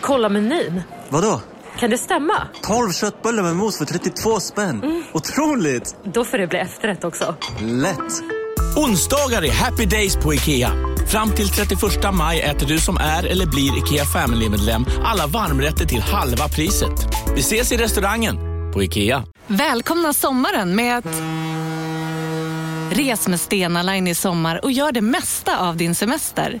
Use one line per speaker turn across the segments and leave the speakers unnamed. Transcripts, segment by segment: Kolla menyn.
Vadå?
Kan det stämma?
12 köttbullar med mos för 32 spänn. Otroligt!
Då får det bli efterrätt också.
Lätt!
Onsdagar är happy days på IKEA. Fram till 31 maj äter du som är eller blir IKEA Family-medlem alla varmrätter till halva priset. Vi ses i restaurangen på IKEA.
Välkomna sommaren med att... Res med Stena Line i sommar och gör det mesta av din semester.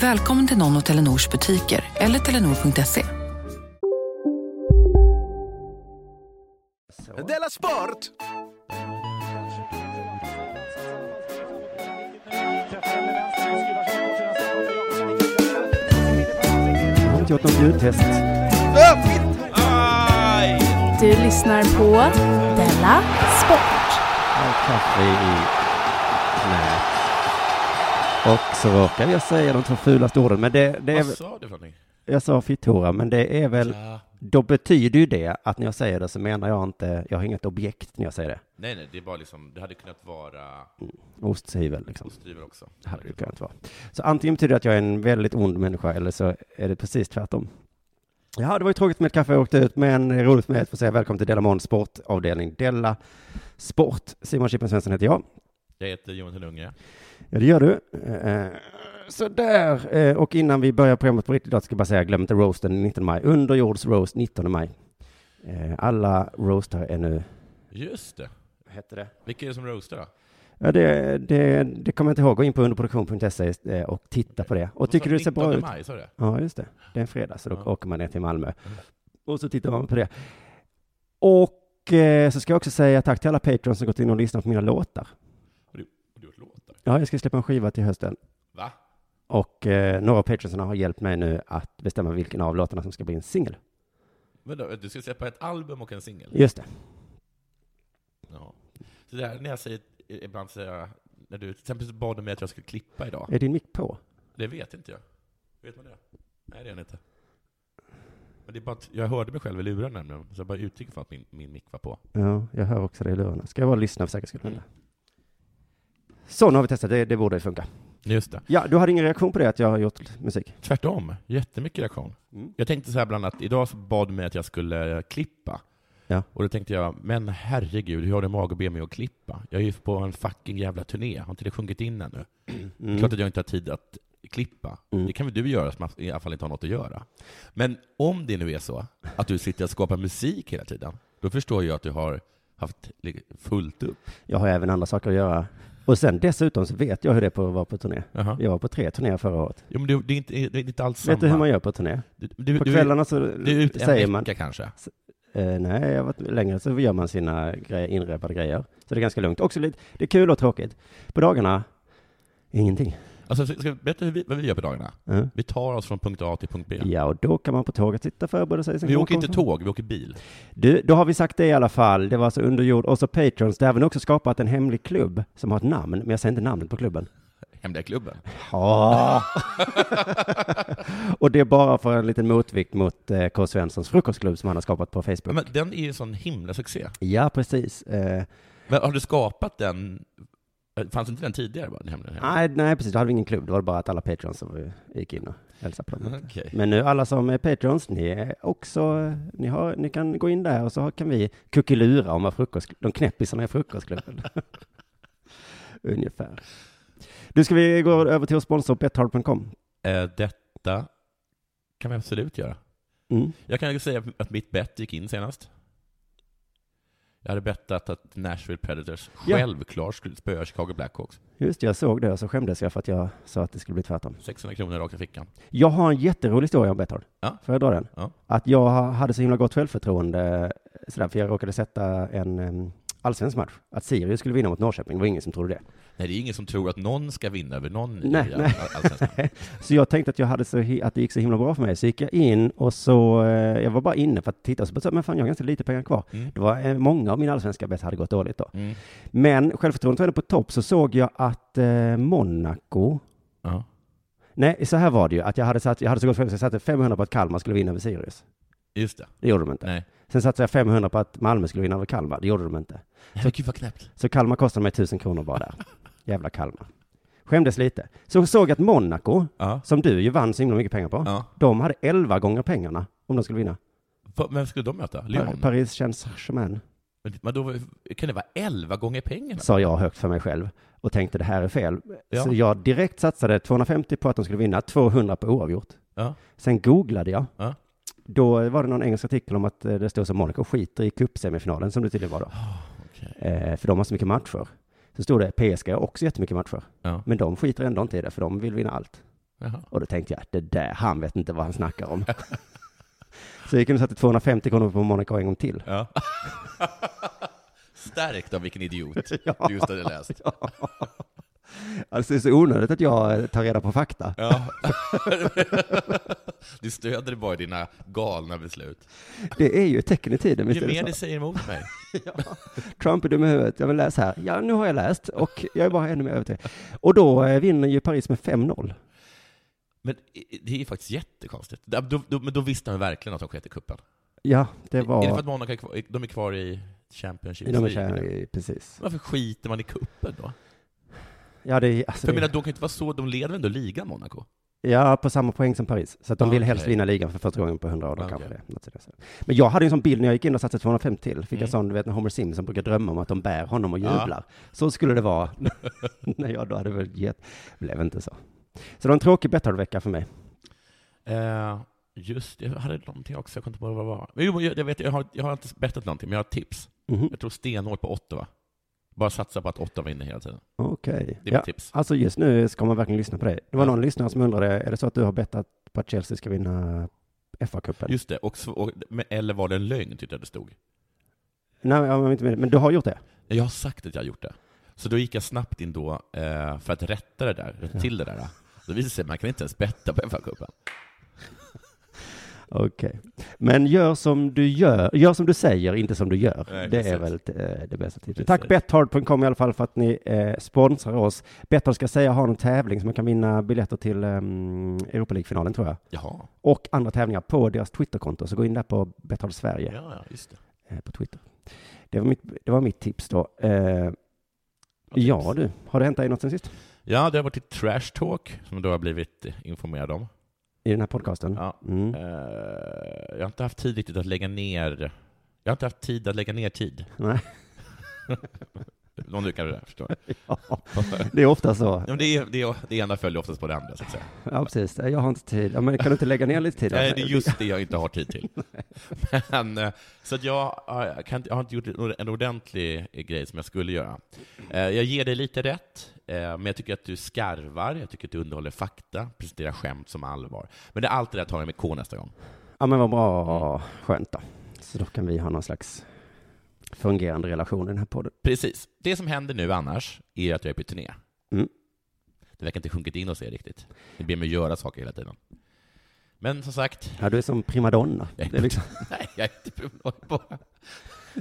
Välkommen till någon av Telenors butiker eller telenor.se.
Della Sport!
Jag har inte gjort något ljudtest.
Du lyssnar på Della Sport.
Har kaffe i knät. Och så råkade jag säga de två fulaste orden, men det, det är,
Vad sa du för någonting?
jag sa fitthora, men det är väl,
Ja.
då betyder ju det att när jag säger det så menar jag inte, jag har inget objekt när jag säger det.
Nej, nej, det är bara liksom, det hade kunnat vara
Osthyvel liksom.
styver också.
Hade det kunnat vara. Så antingen betyder det att jag är en väldigt ond människa eller så är det precis tvärtom. Ja, det var ju tråkigt med ett kaffe jag åkte ut, men det är roligt med att få säga välkommen till Della Måns sportavdelning Della Sport. Simon Chippen Svensson heter jag.
Jag heter Johan Lundgren.
Ja, det gör du. Eh, Så där. Eh, Och innan vi börjar programmet på riktigt idag ska jag bara säga, glöm inte roasten den 19 maj. Underjords roast 19 maj. Eh, Alla roastar är nu...
Just det.
Hette det?
Vilka är det som roastar då?
Ja, det, det, det kommer jag inte ihåg. Gå in på underproduktion.se eh, och titta på det. Och tycker du det ser bra
19
ut?
maj, sa du det?
Ja, just det. Det är en fredag, så då
Ja.
åker man ner till Malmö. Och så tittar man på det. Och eh, så ska jag också säga tack till alla patrons som gått in och lyssnat på mina låtar.
Har du, har du gjort låtar?
Ja, jag ska släppa en skiva till hösten.
Va?
Och eh, några av patronsarna har hjälpt mig nu att bestämma vilken av låtarna som ska bli en singel.
Vänta, du ska släppa ett album och en singel?
Just det.
Ja. Så där, när jag säger, ibland säger jag, när du, till exempel så bad du mig att jag skulle klippa idag.
Är din mick på?
Det vet inte jag. Vet man det? Nej, det gör jag inte. Men det är bara att jag hörde mig själv i luren nämligen, så jag bara utgick från att min, min mick var på.
Ja, jag hör också det i lurarna. Ska jag bara lyssna för säkerhets skull?
Mm.
Så, nu har vi testat. Det, det borde funka.
Just det.
Ja, du hade ingen reaktion på det att jag har gjort musik?
Tvärtom, jättemycket reaktion.
Mm.
Jag tänkte så här bland annat, idag så bad du mig att jag skulle eh, klippa.
Ja.
Och då tänkte jag, men herregud, hur har du mag att be mig att klippa? Jag är ju på en fucking jävla turné, har inte det sjunkit in ännu? Det är klart att jag inte har tid att klippa.
Mm.
Det kan väl du göra som i alla fall inte har något att göra. Men om det nu är så att du sitter och skapar musik hela tiden, då förstår jag att du har haft li- fullt upp.
Jag har även andra saker att göra. Och sen dessutom så vet jag hur det är på att vara på turné.
Jaha.
Jag var på tre turnéer förra året.
Jo, men det, det, är inte, det är inte alls samma.
Vet du hur man gör på turné?
Du, du,
På
du, är-
kvällarna så
du är ute en
säger
vecka
man,
kanske?
eh, nej, jag har varit längre, så gör man sina grejer, inrepade grejer. Så det är ganska lugnt. Också lite, det är kul och tråkigt. På dagarna, ingenting.
Alltså, ska jag berätta hur vi, vad vi gör på dagarna?
Ja.
Vi tar oss från punkt A till punkt B.
Ja, och då kan man på tåget sitta och förbereda sig. Sen
Vi
kan man
åker
komma
inte
fram.
tåg, vi åker bil.
Du, då har vi sagt det i alla fall. Det var alltså underjord. Och så Patrons. Det har även också skapat en hemlig klubb som har ett namn, men jag säger inte namnet på klubben.
Hemliga klubben.
Ja. och det är bara för en liten motvikt mot eh, K. Svenssons frukostklubb som han har skapat på Facebook.
Men den är ju en sån himla succé.
Ja, precis. Eh,
Men har du skapat den? Eh, Fanns inte den tidigare? Bara, den hemliga, hemliga?
nej, nej, precis. Då hade vi ingen klubb. Det var bara att alla Patrons som eh, gick in och hälsade på dem.
Mm, Okej.
Men nu alla som är Patrons, ni är också, ni, har, ni kan gå in där och så har- kan vi kuckelura om vad frukost, de knäppisarna i frukostklubben. Ungefär. Nu ska vi gå över till vår sponsor Betthard.com.
Eh, Detta kan vi absolut göra.
Mm.
Jag kan ju säga att mitt bett gick in senast. Jag hade bettat att Nashville Predators
Ja.
självklart skulle spöa Chicago Blackhawks.
Just det, jag såg det och så skämdes jag för att jag sa att det skulle bli tvärtom.
600 kronor rakt i fickan.
Jag har en jätterolig historia om Betthard.
Ja.
Får jag dra den?
Ja.
Att jag hade så himla gott självförtroende, sådär, för jag råkade sätta en em, allsvensk match. Att Sirius skulle vinna mot Norrköping, det var ingen som trodde det.
Nej, det är ingen som tror att någon ska vinna över någon i
Nej,
all-
nej.
allsvenskan.
Så jag tänkte att, jag hade så, hi- att det gick så himla bra för mig, så gick jag in och så, eh, jag var bara inne för att titta, så bara, så, men fan jag har ganska lite pengar kvar. Det var, eh, många av mina allsvenska bett hade gått dåligt då.
Mm.
Men självförtroendet var ändå på topp, så såg jag att eh, Monaco,
Ja.
nej så här var det ju, att jag hade, satt, jag hade så gott självförtroende, så jag satte 500 på att Kalmar skulle vinna över Sirius.
Just det.
Det gjorde de inte.
Nej.
Sen satte jag 500 på att Malmö skulle vinna över Kalmar, det gjorde de inte.
Nej, men gud vad knäppt.
Så Kalmar kostade mig 1000 kronor bara där. Jävla Kalmar. Skämdes lite. Så såg jag att Monaco,
Ja.
som du ju vann så himla mycket pengar på,
Ja.
de hade 11 gånger pengarna om de skulle vinna.
Va- Vem skulle de möta?
Pa-
Lyon?
Paris Saint-Germain,
Men- Men då kan det vara elva gånger pengarna?
sa jag högt för mig själv och tänkte det här är fel.
Ja.
Så jag direkt satsade 250 på att de skulle vinna, 200 på oavgjort.
Ja.
Sen googlade jag.
Ja.
Då var det någon engelsk artikel om att eh, det stod så Monaco skiter i cupsemifinalen som det tydligen var då.
Ah,
eh, för de har så mycket matcher. Så stod det PSG har också jättemycket matcher.
Ja.
Men de skiter ändå inte i det för de vill vinna allt.
Jaha.
Och då tänkte jag, det där, han vet inte vad han snackar om. så jag gick in och satte 250 kronor på Monaco en gång till.
Ja. Stärkt av vilken idiot du just hade läst.
Alltså det är så onödigt att jag eh, tar reda på fakta.
Ja. du stöder dig bara i dina galna beslut.
Det är ju ett tecken i tiden, visst
Ju
är
mer
det
ni
så?
säger emot mig.
Trump är dum i huvudet, jag vill läsa här. Ja, nu har jag läst och jag är bara ännu mer övertygad. Och då eh, vinner ju Paris med 5-0.
Men i- det är faktiskt jättekonstigt. Då, då, då- men då visste han verkligen att de sket i cupen.
Ja, det
Är det för
var...
att Monaco är kvar, de är kvar i Championship
De är
League?
kära i- precis.
Varför skiter man i cupen då?
Ja, det är, alltså,
För jag menar,
det,
de kan ju inte vara så, de leder ändå ligan, Monaco?
ja, på samma poäng som Paris. Så att de
Ah,
vill
Okej. Ah,
helst vinna ligan för första gången på 100 år. Då
Okej.
kanske det. är något sådär. Men jag hade ju en sån bild när jag gick in och satte 250 till. Fick
Mm. Ah.
jag sån, du vet, när Homer Simpson brukar drömma om att de bär honom och
Ja.
jublar. Så skulle det vara när jag då hade väl gett. Blev inte så. Så det var en tråkig betthardvecka för mig.
Eh, just det, jag hade någonting också, jag kommer inte på vad det var. Men jo, jag, jag vet, jag har, jag har inte bettat någonting, men jag har ett tips.
Mhm.
Jag tror stenhårt på Ottawa. Bara satsa på att Ottawa vinner hela tiden.
Okej.
Det är
Ja.
mitt tips.
Alltså just nu ska man verkligen lyssna på dig. Det var
Ja.
någon lyssnare som undrade, är det så att du har bettat på att Chelsea ska vinna FA-cupen?
Just det, och, så- och, men- eller var det en lögn, tyckte jag det stod.
Nej, jag menar inte med det. men du har gjort det?
Jag har sagt att jag har gjort det. Så då gick jag snabbt in då eh, för att rätta det där, rätta till det där. Då visade det sig att man kan inte ens betta på FA-cupen.
Okej. Men gör som du gör, gör som du säger, inte som du gör.
Nej,
det
precis.
är väl eh, det bästa tipset.
Precis.
Tack Betthard.com i alla fall för att ni eh, sponsrar oss. Betthard ska säga har en tävling som man kan vinna biljetter till um, Europa League-finalen tror jag.
Jaha,
Och andra tävlingar på deras Twitterkonto. Så gå in där på Betthard Sverige
ja, ja, just det.
eh, på Twitter. Det var mitt, det var mitt tips då. Eh,
Bra tips.
ja du, har det hänt dig något sen sist?
Ja, det har varit ett trash talk som jag då har blivit eh, informerad om.
I den här podcasten?
Ja.
Mm.
Eh, jag har inte haft tid riktigt att lägga ner... Jag har inte haft tid att lägga ner tid.
Nej.
Någon du kanske förstår.
Ja, det är ofta så.
Ja, men det, är, det, är, det ena följer oftast på det andra, så att säga.
Ja, precis. Jag har inte tid. Ja, men kan du inte lägga ner lite tid?
Nej, det är just det jag inte har tid till. Men, eh, så att jag, eh, kan, inte- jag har inte gjort en ordentlig grej som jag skulle göra. Eh, Jag ger dig lite rätt, eh, men jag tycker att du skarvar, jag tycker att du underhåller fakta, presenterar skämt som allvar. Men det är allt det där tar jag med K nästa gång.
Ja men vad bra, skönt då. Så då kan vi ha någon slags fungerande relation i den här podden.
Precis. Det som händer nu annars är att jag är på turné.
Mm.
Det verkar inte sjunkit in hos er riktigt. Ni ber mig göra saker hela tiden. Men som sagt,
Ja, du är som primadonna.
jag
Det
är
är liksom,
nej, jag är inte promenad på.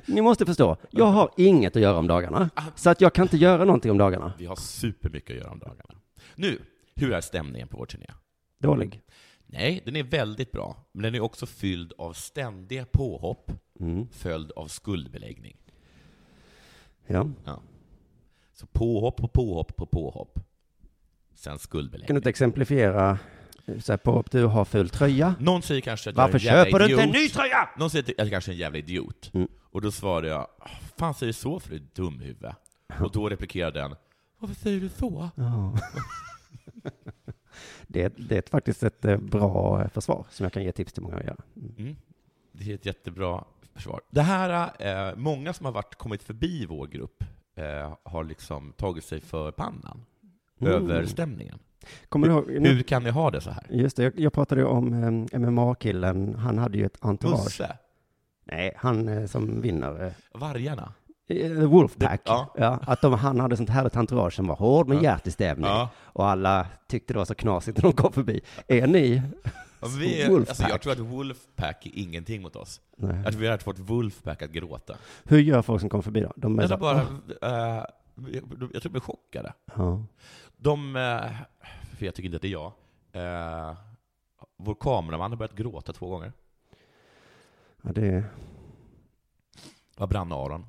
ni måste förstå, jag har inget att göra om dagarna, så att jag kan inte göra någonting om dagarna.
Vi har supermycket att göra om dagarna. Nu, hur är stämningen på vår turné?
Dålig.
Nej, den är väldigt bra, men den är också fylld av ständiga påhopp,
Mm,
följd av skuldbeläggning.
ja.
Så påhopp på påhopp på påhopp. Sen skuldbeläggning.
Kan du inte exemplifiera eh, så här, på att du har ful tröja?
Någon säger kanske att
Varför
jag är en jävla
köper du inte en
idiot.
ny tröja?
Någon säger att jag kanske är en jävla idiot.
Mm.
Och då svarar jag, fan säger du så för du är dumhuvud? Och då replikerar den, varför säger du så?
Ja. Det, är- det är faktiskt ett eh, bra försvar som jag kan ge tips till många att göra.
Mm. Det är ett jättebra försvar. Det här, eh, många som har varit, kommit förbi vår grupp eh, har liksom tagit sig för pannan
Mm.
över stämningen.
Kommer du ihåg?
Hur kan ni ha det så här?
Just det, jag, jag pratade ju om eh, MMA-killen, han hade ju ett entourage.
Musse,
Nej, han eh, som vinner. eh,
vargarna.
eh, Wolfpack,
Ja.
ja. att de, han hade sånt härligt entourage som var hård med hjärtestämning
Ja.
och alla tyckte det var så knasigt när de kom förbi. Är ni?
Ja, Vi,
Wolfpack.
alltså, jag tror att Wolfpack är ingenting mot oss. Jag tror vi har fått Wolfpack att gråta.
Hur gör folk som kommer förbi då? De är
Jag
så,
tror bara,
bara...
eh, jag tror de blir chockade.
ja.
De, eh, för jag tycker inte att det är jag, eh, vår kameraman har börjat gråta två gånger.
Ja, det...
Det var Brann-Aron.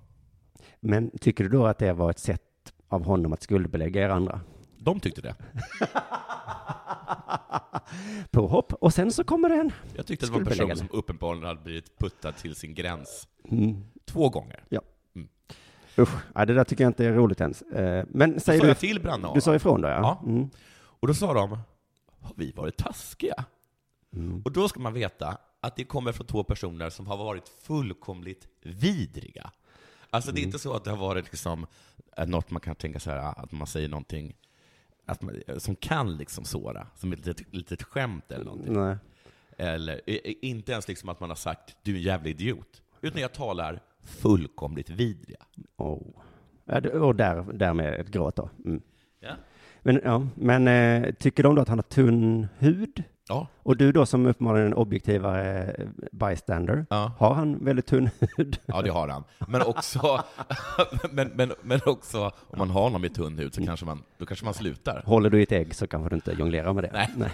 Men tycker du då att det var ett sätt av honom att skuldbelägga er andra?
De tyckte det.
Påhopp, och sen så kommer det en.
Jag tyckte att det var en person
Skuldbeläggande.
som uppenbarligen hade blivit puttad till sin gräns.
Mm.
Två gånger.
Ja. Usch, ja, det där tycker jag inte är roligt ens. Eh, Men
Då
säger
sa
du,
jag till Brann-Aron.
du sa ifrån då, ja?
Ja.
Mm.
Och då sa de, har vi varit taskiga?
Mm.
Och då ska man veta att det kommer från två personer som har varit fullkomligt vidriga. Alltså
Mm.
det är inte så att det har varit liksom eh, något man kan tänka så här att man säger någonting att man, eh, som kan liksom såra, som ett litet, litet skämt eller någonting.
Nej.
Eller eh, eh, inte ens liksom att man har sagt du är en jävla idiot. Utan jag talar fullkomligt vidriga.
Oh. Ja, det- Och där, därmed ett gråt då. Mm.
Ja.
Men, ja, men eh, tycker de då att han har tunn hud?
Ja.
Och du då som uppenbarligen är en objektivare eh, bystander,
Ja.
har han väldigt tunn hud?
Ja, det har han. Men också, men, men, men också om man har någon med tunn hud så kanske man, då kanske man slutar.
Håller du i ett ägg så kanske du inte jonglerar med det.
Nej,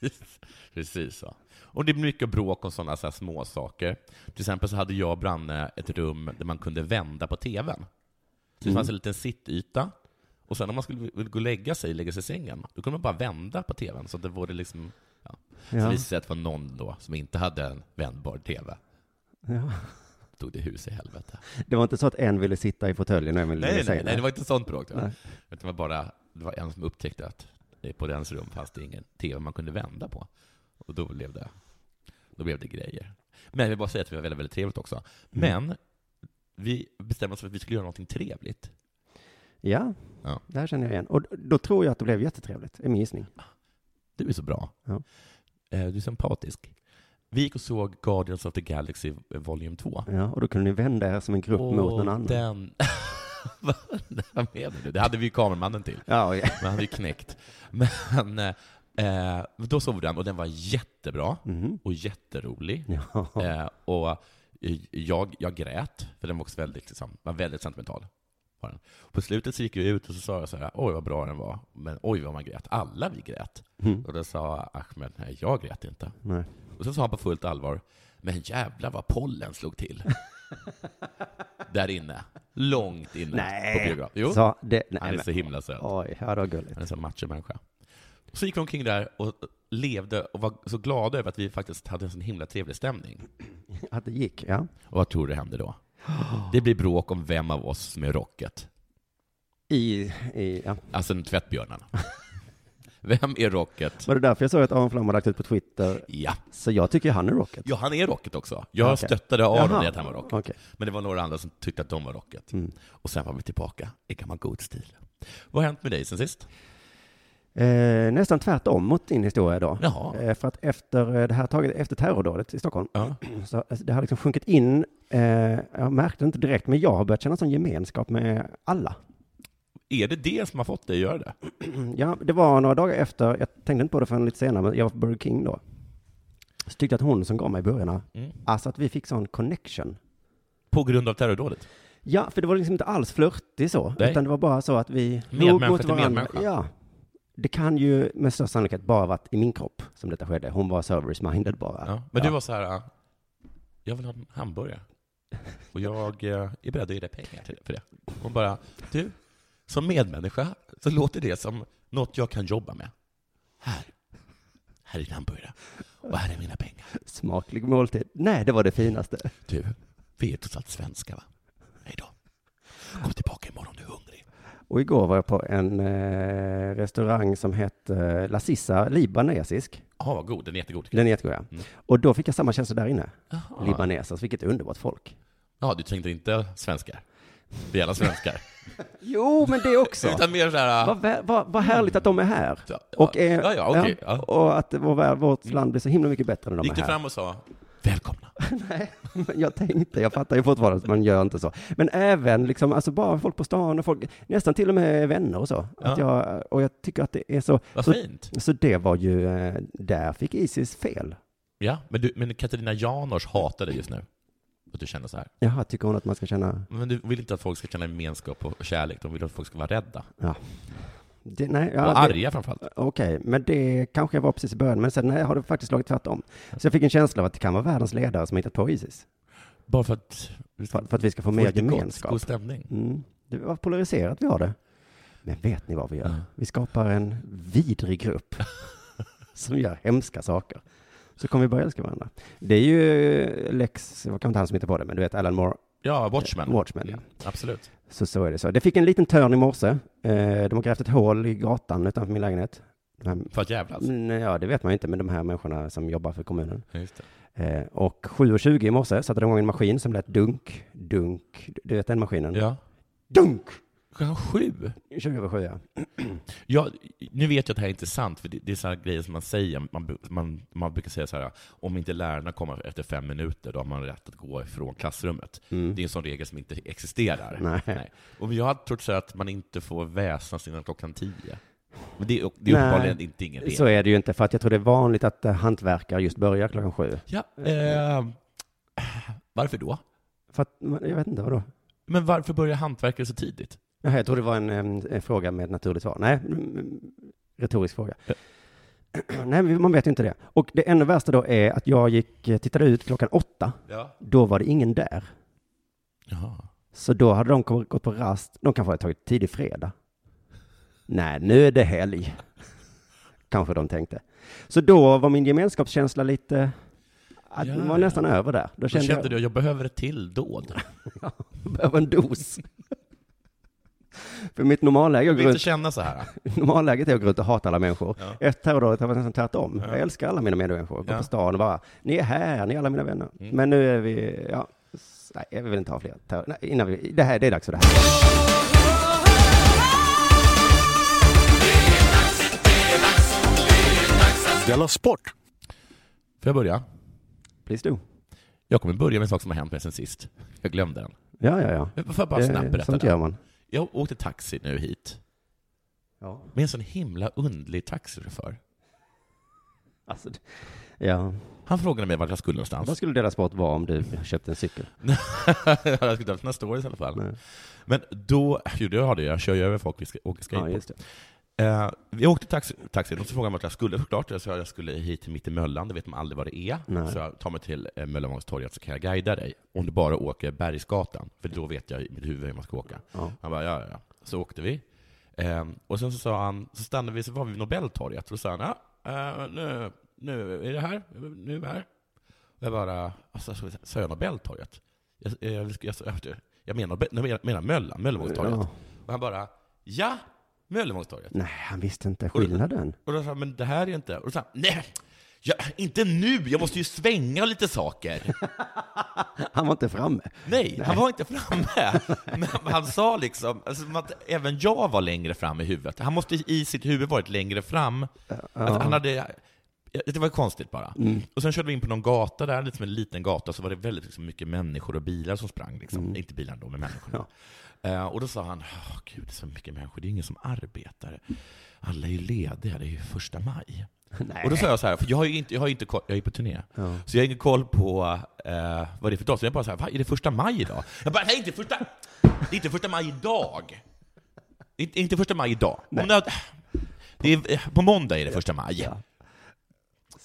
precis. precis så. Och det blir mycket bråk om sådana så här små saker. Till exempel så hade jag och Branne ett rum där man kunde vända på TVn. Så det fanns en liten sittyta. Och sen om man skulle vilja gå och lägga sig, lägga sig i sängen, då kunde man bara vända på TVn. Så det vore liksom... Ja. Så
Ja.
visade det sig att det var någon då som inte hade en vändbar TV.
Ja.
Tog det hus i helvete.
Det var inte så att en ville sitta i fåtöljen och en ville
Nej,
säga
nej, nej, det var inte sånt bråk. Det var. Utan det var bara det var en som upptäckte att det på dens rum fanns det ingen tv man kunde vända på. Och då blev det, då blev det grejer. Men jag vill bara säga att vi var väldigt, väldigt trevligt
Mm.
också. Men vi bestämde oss för att vi skulle göra någonting trevligt.
Ja,
Ja.
det här känner jag igen. Och d- då tror jag att det blev jättetrevligt, är min gissning.
Du är så bra.
Ja.
Eh, Du är sympatisk. Vi gick och såg Guardians of the Galaxy eh, Volume 2.
Ja, och då kunde ni vända er som en grupp mot någon annan.
den... Vad vad menar du? Det hade vi ju kameramannen till.
Ja, ja.
Men han hade ju knäckt. Men eh, eh, då såg vi den och den var jättebra
Mhm.
och jätterolig.
ja.
Eh, och eh, jag, jag grät, för den var också väldigt, liksom, var väldigt sentimental. Var den. På slutet så gick vi ut och så sa jag så här, oj vad bra den var, men oj vad man grät. Alla vi grät.
Mhm.
Och då sa Ahmed, nej jag grät inte.
Nej.
Och så sa han på fullt allvar, men jävlar vad pollen slog till. Där inne. Långt inne på biografen. Jo,
Så det, nej,
han är
men,
så himla söt.
oj, ja, det var gulligt.
Han är en sån machomänniska. Och Så gick de omkring där och levde och var så glada över att vi faktiskt hade en sån himla trevlig stämning.
Att det gick, ja.
Och vad tror du hände då? Det blir bråk om vem av oss som är rocket.
I, i, ja.
Alltså en tvättbjörnarna. Vem är rocket?
Var det därför jag såg att Aron Flam har lagt ut på Twitter?
Ja.
Så jag tycker han är Rocket.
ja, han är rocket också. Jag
Okej.
stöttade Aron
Jaha. Mm.
i att han var rocket.
Okej.
Men det var några andra som tyckte att de var rocket. Och sen var vi tillbaka i gammal god stil. Vad har hänt med dig sen sist?
Eh, nästan tvärtom mot din historia idag.
Jaha.
Eh, för att efter eh, det här taget, efter terrordådet i Stockholm,
Ja.
så alltså, det har liksom sjunkit in, eh, jag märkte inte direkt, men jag har börjat känna sån gemenskap med alla. Mm,
Är det det som har fått dig att göra det?
Ja, det var några dagar efter, jag tänkte inte på det förrän lite senare, men jag var på Burger King då. Så tyckte jag att hon som gav mig burgarna, alltså att vi fick sån connection.
Mm. På grund av terrordådet?
Ja, för det var liksom inte alls flörtig så,
Nej.
utan det var bara så att vi
Medmänniska
låg mot
till
varandra.
medmänniska.
Ja. Det kan ju med största sannolikhet bara varit i min kropp som detta skedde. Hon var service-minded bara.
Ja. Men du var så här, ah, jag vill ha en hamburgare. Och jag eh, är beredd att ge dig pengar till, för det. Hon bara, du, som medmänniska så låter det som något jag kan jobba med. Här, här är din hamburgare. Och här är mina pengar.
Smaklig måltid. Nej, det var det finaste.
Du, vi är trots allt svenskar va? Hej då. Kom tillbaka imorgon om du är hungrig.
Och igår var jag på en eh, restaurang som hette eh, La Sissa, libanesisk.
Ja, vad god. Den är jättegod.
Den är jättegod, ja.
Mm.
Och då fick jag samma känsla där inne.
Ah.
Libaneser, så vilket underbart folk.
Ja, du tänkte inte svenskar? Vi är alla svenskar.
Jo, men det också.
Utan mer så här... ah,
Vad, vä- vad, vad härligt att de är här.
Ja,
Och, eh,
ja, ja, okej, ja.
och att vår, värld- vårt land blir så himla mycket bättre när de
Gick
är
du
här.
fram och sa, Välkomna.
Men jag tänkte, jag fattar ju fortfarande att man gör inte så. Men även liksom, alltså bara folk på stan och folk, nästan till och med vänner och så. Att jag, och jag tycker att det är så.
Vad
så,
fint.
så det var ju, eh, där fick Isis fel.
Ja, men, du, men Katarina Janors hatar dig just nu. Att du känner så här.
Jaha, tycker hon att man ska känna,
Men du vill inte att folk ska känna gemenskap och kärlek. De vill att folk ska vara rädda.
ja. Det, nej, ja,
Och
det-
arga framförallt.
Okej, men det kanske var precis i början, men sen nej, har det faktiskt slagit tvärtom. Så jag fick en känsla av att det kan vara världens ledare som har hittat på Isis.
Bara för att...
För, för att vi ska få mer
lite gott,
gemenskap.
God stämning.
Mm. Det var polariserat vi har det. Men vet ni vad vi gör?
Nej.
Vi skapar en vidrig grupp som gör hemska saker. Så kommer vi börja älska varandra. Det är ju Lex, vad kan inte han som hittar på det, men du vet Alan Moore,
Ja, Watchmen.
Eh, Watchmen, ja.
Mm, Absolut.
Så så är det så. Det fick en liten törn i morse. Eh, De har grävt ett hål i gatan utanför min lägenhet. De här,
För att jävlas.
Mm, ja, det vet man ju inte, men de här människorna som jobbar för kommunen.
Ja, Just det.
Eh, och 7.20 i morse satte de igång en maskin som lät dunk, dunk, du vet den maskinen?
Ja.
Dunk!
Klockan sju.
20 över sju, ja.
Ja, nu vet jag att det här inte är sant, för det, det är sådana grejer som man säger. Man, bu- man, man brukar säga så här, om inte lärarna kommer efter fem minuter, då har man rätt att gå ifrån klassrummet.
Mm.
Det är en sån regel som inte existerar.
Nej.
Och jag har trott så här att man inte får väsnas innan klockan tio. Men det, är- det är
Nej.
uppenbarligen inte ingen regel.
Så är det ju inte, för att jag tror det är vanligt att eh, hantverkare just börjar klockan sju.
Ja, eh, varför då?
För att, jag vet inte, vadå?
Men varför börjar hantverkare så tidigt?
Jaha, jag tror det var en, em, en fråga med ett naturligt svar. Nej, mm, mm, retorisk fråga. Nej, men man vet ju inte det. Och det ännu värsta då är att jag gick, eh, tittade ut klockan åtta.
Ja.
Då var det ingen där.
Jaha.
Så då hade de kommit- gått på rast. De kanske hade tagit tidig fredag. Nej, nu är det helg. Kanske de tänkte. Så då var min gemenskapskänsla lite... Att
Ja,
den var
ja.
nästan över där. Då
Då
kände,
kände
jag
du att jag behöver ett till dåd.
jag behöver en dos. För mitt normalläge, jag
Jag
går
vill inte
runt,
känna så här.
normalläget är att gå runt och hata alla människor. Efter terrordådet har jag nästan tvärtom. Jag älskar alla mina medmänniskor. Gå
Ja. Mm.
på stan och bara, ni är här, ni är alla mina vänner. Men nu är vi, ja, s- nej, jag vill inte ha fler terror. Nej, innan vi, det här, det är dags för det här.
Della Sport!
Får jag börja?
Please do.
Jag kommer börja med en sak som har hänt mig sen sist. Jag glömde den.
Ja, ja, ja.
Men Får jag bara snabbt
Eh,
berätta
Sånt
det?
gör man.
Jag åkte taxi nu hit
Ja.
med en sån himla underlig taxichaufför.
Alltså, det- ja.
Han frågade mig vart jag skulle
Vad
någonstans.
skulle deras sport vara om du köpte en cykel?
jag skulle inte haft några stories i alla fall.
Nej.
Men då, jo det har det, jag kör ju över folk och ska, åker
Ja,
skateboard.
just det.
Eh, jag åkte taxi, taxi och så frågade han vart jag skulle såklart. Jag sa jag skulle hit till mitt i Möllan, det vet man aldrig vad det är.
Nej.
Så jag tar mig till eh, Möllanvångstorget så kan jag guida dig. Om du bara åker Bergsgatan, för då vet jag i mitt huvud hur man ska åka.
Ja.
Han bara, ja, ja, ja. Så åkte vi. Eh, och sen så sa han, så stannade vi, så var vi vid Nobeltorget, och då sa han, ja, eh, nu, nu, är det här? Nu är det här? Och jag bara, alltså, så- sa jag Nobeltorget? Jag, jag, jag, jag, jag, jag menar, jag menar Möllan, Möllanvångstorget.
Ja.
Och han bara, ja, Möllanvångstorget.
Nej, han visste inte skillnaden.
Och då sa han, men det här är inte... Och då sa han, nej! Ja, inte nu, jag måste ju svänga lite saker.
Han var inte framme.
Nej, han var inte framme. Men han sa liksom, alltså, som att även jag var längre fram i huvudet. Han måste i sitt huvud varit längre fram. Att han hade, det var konstigt bara. Och sen körde vi in på någon gata där, liksom en liten gata, så var det väldigt liksom, mycket människor och bilar som sprang. Liksom. Inte bilar då, men människorna. Eh, och då sa han, oh, gud, det är så mycket människor, det är ingen som arbetar. Alla är ju lediga, det är ju första maj. Och då sa jag så här, för jag har ju inte, jag har ju inte koll, jag är ju på turné, så jag har ingen koll på eh, vad det är för dag. Så jag bara så här, "Va, är det första maj idag? Jag bara, nej inte första, det är inte första maj idag. Det är inte- inte första maj idag. Om det, det är, eh, på måndag är det första maj.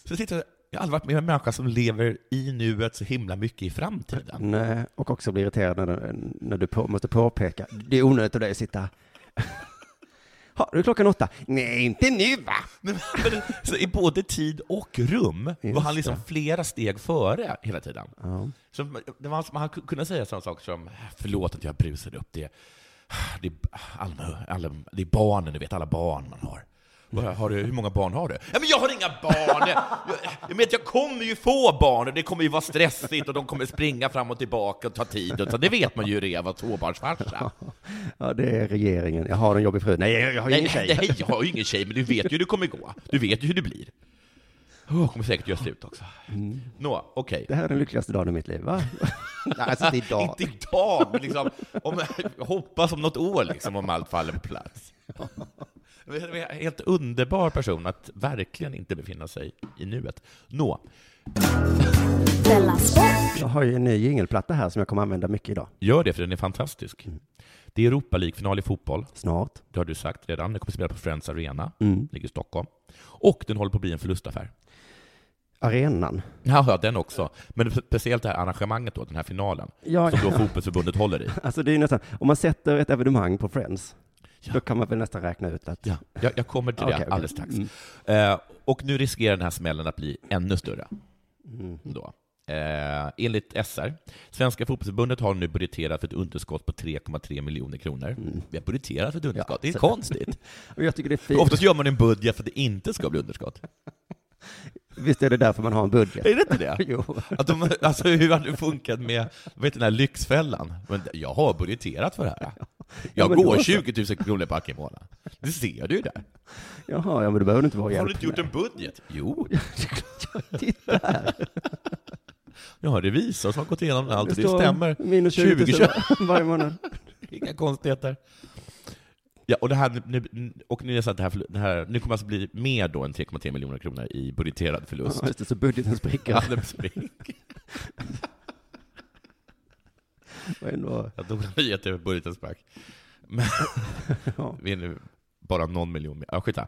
Så sitter jag, jag har aldrig varit med om en människa som lever i nuet så himla mycket i framtiden.
Nej, och också blir irriterad när du, när du på, måste påpeka. Det är onödigt av dig att sitta... Ha, nu är klockan åtta. Nej, inte nu va?
Men, men, så I både tid och rum var han liksom flera steg före hela tiden. Så det var, man kunde säga sådana saker som ”förlåt att jag brusade upp”, det är, det är, alla, alla, det är barnen, du vet, alla barn man har. Vad Har du, hur många barn har du? Ja, men jag har inga barn! Jag, jag, men jag kommer ju få barn och det kommer ju vara stressigt och de kommer springa fram och tillbaka och ta tid. Och så, det vet man ju hur det är att vara tvåbarnsfarsa.
Ja, det är regeringen. Jag har en jobbig fru. Nej, jag, jag har ingen
Nej,
tjej.
nej, jag har ju ingen tjej, men du vet ju hur det kommer gå. Du vet ju hur det blir. Oh, kommer säkert göra slut också. Nå, okej.
Mm. Det här är den lyckligaste dagen i mitt liv, va? Nej, alltså inte idag.
Inte idag, men liksom, om, jag hoppas om något år liksom, om allt faller på plats. Men det är en helt underbar person att verkligen inte befinna sig i nuet. Nå,
Della Sport.
Jag har ju en ny jingelplatta här som jag kommer använda mycket idag.
gör det för den är fantastisk.
Mm.
Det är Europa League-final i fotboll.
Snart.
Det har du sagt redan. Den kommer spela på Friends Arena,
Mm.
ligger i Stockholm. Och den håller på att bli en förlustaffär.
Arenan.
Ja, ja, den också. Men speciellt det här arrangemanget då, den här finalen,
Ja,
som då fotbollsförbundet håller i.
Alltså det är ju nästan, om man sätter ett evenemang på Friends, då kan man väl nästan räkna ut att
Ja, jag, jag kommer till det
Okej, Mm. okej.
alldeles strax. Eh, och nu riskerar den här smällen att bli ännu större.
Mm.
Då. Eh, enligt SR, Svenska fotbollsförbundet har nu budgeterat för ett underskott på 3,3 miljoner kronor.
Mm.
Vi har budgeterat för ett underskott, det är konstigt.
Och jag tycker det är fint.
Oftast gör man en budget för att det inte ska bli underskott.
Visst är det därför man har en budget?
Är det inte det?
Jo.
Att de, alltså, hur hade det funkat med vet, du, den här Lyxfällan? Men jag har budgeterat för det här. Jag
men
går
då så.
20 000 kronor back i månaden. Det ser du ju där.
Jaha, ja, men det behöver du inte vara
Har
hjälp
du inte gjort en budget? Jo,
med. Titta,
jag har en revisor som har gått igenom allt och det
står
stämmer.
Minus 20 000
20,
varje månad.
Inga konstigheter. Ja, och det här, nu, och nu, är det så att det här, det här, nu kommer det alltså bli mer då än 3,3 miljoner kronor i budgeterad förlust. Alltså,
Ja, just det, så budgeten spricker.
Alla spring.
Och ändå,
Jag tog nyheter över budgeten sprack. Men
Ja.
vi är nu bara någon miljon mer. Ja, skitsamma.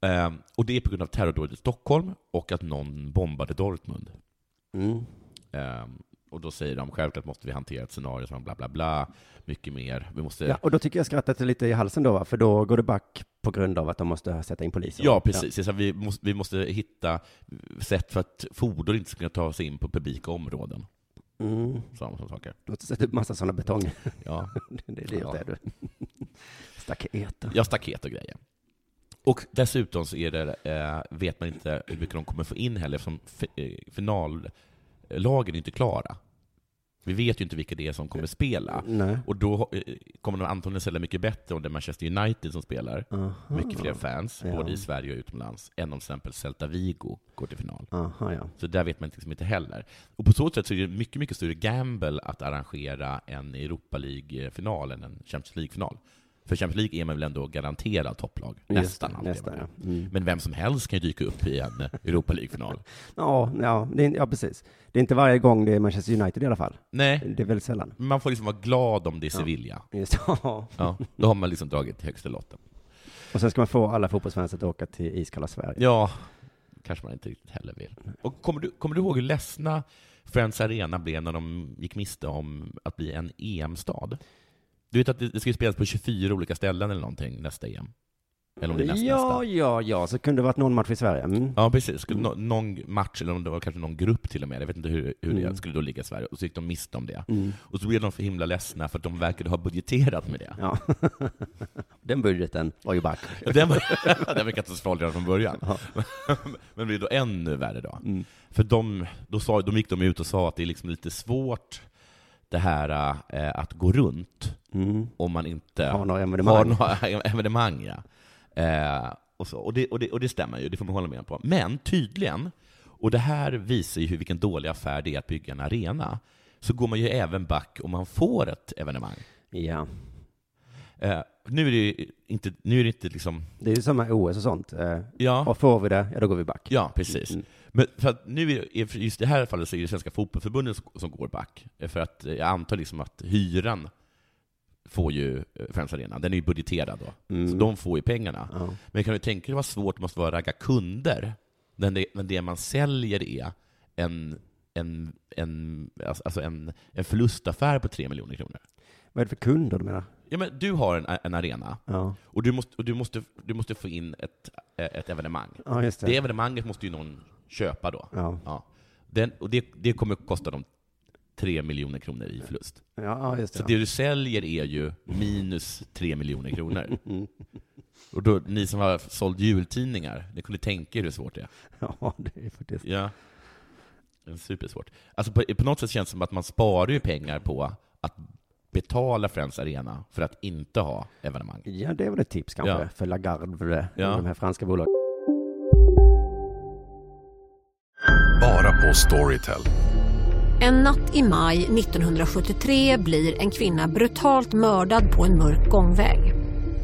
Ehm, och det är på grund av terrordådet i Stockholm och att någon bombade Dortmund.
mm.
Ehm, och då säger de självklart måste vi hantera ett scenario som bla bla bla, mycket mer. Vi måste...
ja, och då tycker jag skrattet är lite i halsen då, va? för då går det back på grund av att de måste sätta in poliser.
Ja, precis. Det är så här, Vi, måste, vi måste hitta sätt för att fordon inte ska kunna ta sig in på publika områden.
Ja. Mm.
Sådana sådana saker.
Låt oss sätta upp massa sådana betong.
Ja.
Det är dyrt
Ja.
det du. Staketer.
Ja, staket och grejer. Och dessutom så är det, eh, vet man inte hur mycket de kommer få in heller, eftersom fi- eh, finallagen är inte klara. Vi vet ju inte vilka det är som kommer spela.
Nej.
Och då eh, kommer de antagligen sälja mycket bättre om det är Manchester United som spelar.
Aha.
Mycket fler fans,
Mm. Ja.
både i Sverige och utomlands, än om till exempel Celta Vigo går till final.
Aha, ja.
Så där vet man liksom inte heller. Och på så sätt så är det mycket, mycket större gamble att arrangera en Europa League-final än en Champions League-final. För Champions League är man väl ändå garanterad topplag? Nästan
Just det,
alltid.
Nästan, ja. Mm.
Men vem som helst kan ju dyka upp i en Europa League-final.
Ja, ja, det är, ja, precis. Det är inte varje gång det är Manchester United i alla fall.
Nej,
Det är väldigt sällan.
man får liksom vara glad om det är Sevilla.
Just, ja.
Ja, då har man liksom dragit högsta lotten.
Och sen ska man få alla fotbollsfans att åka till iskalla Sverige.
Ja, kanske man inte riktigt heller vill. Och kommer du, kommer du ihåg hur ledsna Friends Arena blev när de gick miste om att bli en EM-stad? Du vet att det det ska ju spelas på 24 olika ställen eller någonting nästa EM? Eller om det är näst,
ja,
nästa?
ja, ja, så kunde det varit någon match i Sverige. Mm.
Ja, precis. Skulle nå- någon match, eller om det var kanske någon grupp till och med, jag vet inte hur, hur det
Mm.
skulle då ligga i Sverige, och så gick de miste om det. Och så blev de för himla ledsna för att de verkade ha budgeterat med det.
Ja. Den budgeten var ju back.
Och Den var, den var katastrofal redan från början. Men det blev då ännu värre då.
Mm.
För de, då, sa, de gick de ut och sa att det är liksom lite svårt det här eh, att gå runt
Mm.
om man inte
Har några evenemang.
har några evenemang ja. eh, och, så. Och, det, och, det, och det stämmer ju, det får man hålla med på. Men tydligen, och det här visar ju hur- vilken dålig affär det är att bygga en arena, så går man ju även back om man får ett evenemang.
Ja.
Eh, nu är det ju inte, nu är det inte liksom,
Det är ju samma OS och sånt. Eh,
ja.
Och får vi det, ja då går vi back.
Ja, precis. Men för att nu är, är- för just i det här fallet så är det Svenska fotbollsförbundet som- som går back. Eh, För att eh, jag antar liksom att hyran får ju eh, Friends Arena, den är ju budgeterad då. Så de får ju pengarna. Men kan du tänka dig vad svårt det måste vara att ragga kunder när det, när det man säljer är en, en, en, alltså en, en förlustaffär på tre miljoner kronor?
Vad är det för kunder du menar?
Ja, men du har en, en arena
Ja,
och du måste, och du måste, du måste få in ett, ett evenemang.
ja just det.
Det evenemanget måste ju någon köpa då.
Ja.
Den, och det, det kommer kosta dem 3 miljoner kronor i förlust.
Ja, ja, just
Så
det.
det du säljer är ju minus 3 miljoner kronor. Och då, ni som har sålt jultidningar, ni kunde tänka er hur svårt det är.
Ja, det är faktiskt.
Ja. Det är supersvårt. Alltså på, på något sätt känns det som att man sparar ju pengar på att betala Friends Arena för att inte ha evenemang.
Ja, det är väl ett tips kanske eh,
Ja.
för Lagarde, för det,
Ja.
de här franska bolagen.
på Storytel.
En natt i maj 1973 blir en kvinna brutalt mördad på en mörk gångväg.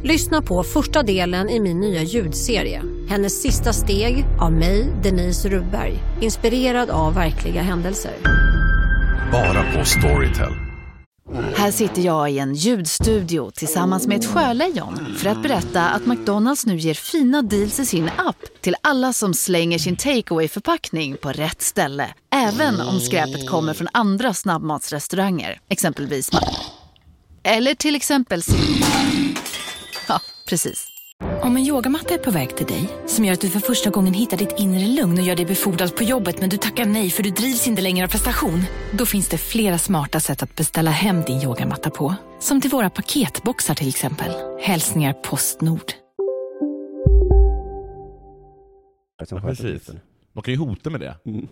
Lyssna på första delen i min nya ljudserie. Hennes sista steg av mig, Denise Rubberg. Inspirerad av verkliga händelser.
Bara på Storytel.
Här sitter jag i en ljudstudio tillsammans med ett sjölejon för att berätta att McDonalds nu ger fina deals i sin app till alla som slänger sin takeaway förpackning på rätt ställe. Även om skräpet kommer från andra snabbmatsrestauranger, exempelvis Ma- Eller till exempel Sim- Ja, precis.
Om en yogamatta är på väg till dig, som gör att du för första gången hittar ditt inre lugn och gör dig befordrad på jobbet men du tackar nej för du drivs inte längre av prestation. Då finns det flera smarta sätt att beställa hem din yogamatta på. Som till våra paketboxar till exempel. Hälsningar Postnord.
Ja, precis. Man kan ju hota med det.
Mm.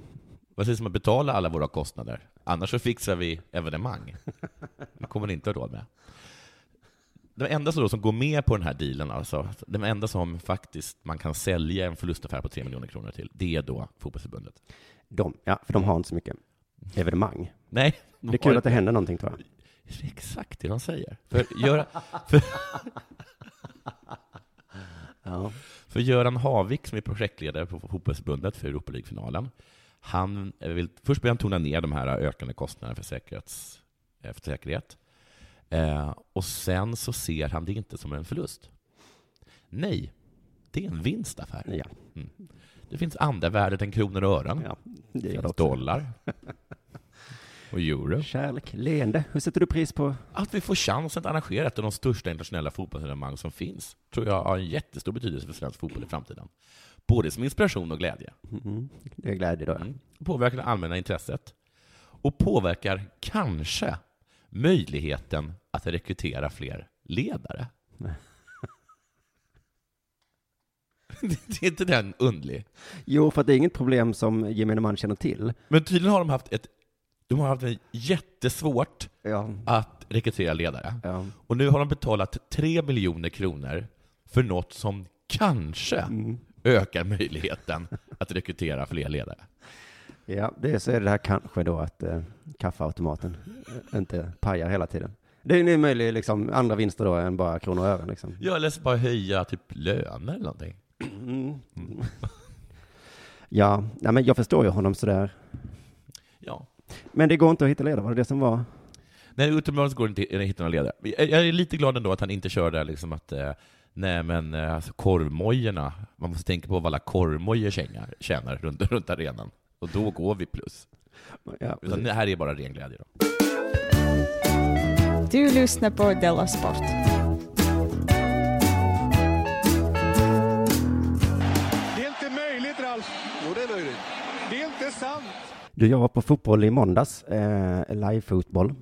Vad sägs om att betala alla våra kostnader? Annars så fixar vi evenemang. Det kommer ni inte ha råd med. De enda som, då som går med på den här dealen, alltså, de enda som faktiskt man kan sälja en förlustaffär på 3 miljoner kronor till, det är då Fotbollförbundet.
De, ja, för de har inte så mycket evenemang.
Nej.
Det är kul att det händer någonting tror jag.
Det är exakt det de säger. För, göra, för,
Ja.
för Göran Havik, som är projektledare på Fotbollförbundet för Europa League-finalen, han eh, vill, först börjar han tona ner de här ökande kostnaderna för, säkerhets, eh, för säkerhet. Eh, och sen så ser han det inte som en förlust. Nej, det är en vinstaffär.
Ja.
Mm. Det finns andra värden än kronor och ören.
Ja,
det
det gör det
finns
också.
dollar och euro.
Kärlek, leende. Hur sätter du pris på?
Att vi får chansen att arrangera ett av de största internationella fotbollsevenemang som finns tror jag har en jättestor betydelse för svensk fotboll i framtiden. Både som inspiration och glädje.
Mhm. Det är glädje då.
Mm. Påverkar det allmänna intresset. Och påverkar kanske möjligheten att rekrytera fler ledare. det är inte den underlig?
Jo, för att det är inget problem som gemene man känner till.
Men tydligen har de haft ett de har haft en jättesvårt
Ja.
att rekrytera ledare.
Ja.
Och nu har de betalat 3 miljoner kronor för något som kanske ökar möjligheten att rekrytera fler ledare.
Ja, det är så är det här kanske då att eh, kaffeautomaten eh, inte pajar hela tiden. Det är ju en möjlig liksom, andra vinster då än bara kronor och ören liksom.
Ja, eller så bara höja typ löner eller någonting.
Ja, nej, men jag förstår ju honom sådär.
Ja.
Men det går inte att hitta ledare, var det det som var?
Nej, uppenbarligen så går det inte att hitta några ledare. Jag jag är lite glad ändå att han inte kör där liksom att eh, Nej men eh, alltså korvmojorna, man måste tänka på vad alla korvmojor tjänar, tjänar runt, runt arenan. Och då går vi plus.
Ja,
Utan det här är bara ren glädje då.
Du lyssnar på Della Sport.
Det är inte möjligt, Ralf. Jo, det är möjligt. Det är inte sant.
Du, jag var på fotboll i måndags, eh, live-fotboll.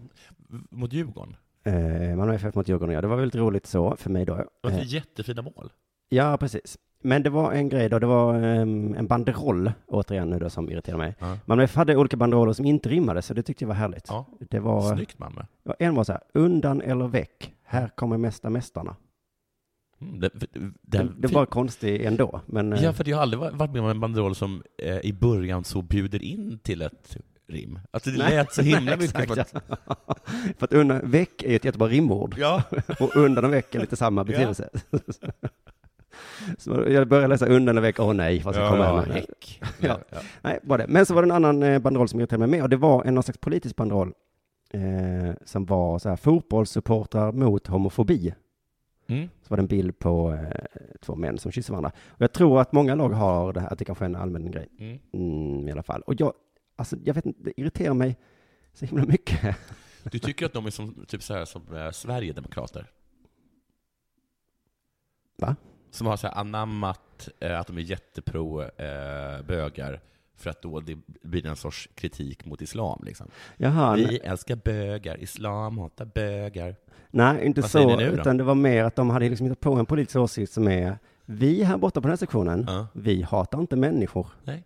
Mot Djurgården.
Eh, Malmö FF mot Djurgården, ja. Det var väldigt roligt så för mig då.
Det
Eh,
var jättefina mål.
Ja, precis. Men det var en grej då, det var ehm, en banderoll, återigen nu då, som irriterade mig.
Ja.
Malmö FF hade olika banderoller som inte rimmade, så det tyckte jag var härligt.
Ja.
Det var,
Snyggt Malmö.
ja, en var så här, undan eller väck, här kommer mesta mästarna.
Mm, det, det,
Det, det var konstigt ändå, men eh,
Ja, för jag har aldrig va- varit med om en banderoll som eh, i början så bjuder in till ett rim. Alltså det
Nej,
lät så himla
nej,
mycket.
exakt,
som att-
för att undan, väck är ett jättebra rimord.
Ja.
och undan och väck är lite samma betydelse. så jag började läsa undan och väck, åh nej, vad ska
Ja,
komma
ja,
här nu?
häck.
ja. Nej, var det. Men så var det en annan eh, banderoll som irriterade mig med, och det var en någon slags politisk banderoll eh, som var så här, fotbollssupportrar mot homofobi.
Mm.
Så var det en bild på eh, två män som kysser varandra. Och jag tror att många lag har det här, att det kanske är en allmän grej.
Mm.
Mm, I alla fall. Och jag, alltså, jag vet inte, det irriterar mig så himla mycket.
Du tycker att de är som, typ så här, som eh, Sverigedemokrater?
Va?
Som har så här anammat eh, att de är jättepro eh, bögar för att då det blir en sorts kritik mot islam. Liksom.
Jaha,
Vi
nej.
älskar bögar, islam hatar bögar.
Nej, inte
Vad säger
så,
ni nu då?
utan det var mer att de hade liksom hittat på en politisk åsikt som är vi här borta på den här sektionen,
Ja.
vi hatar inte människor.
Nej.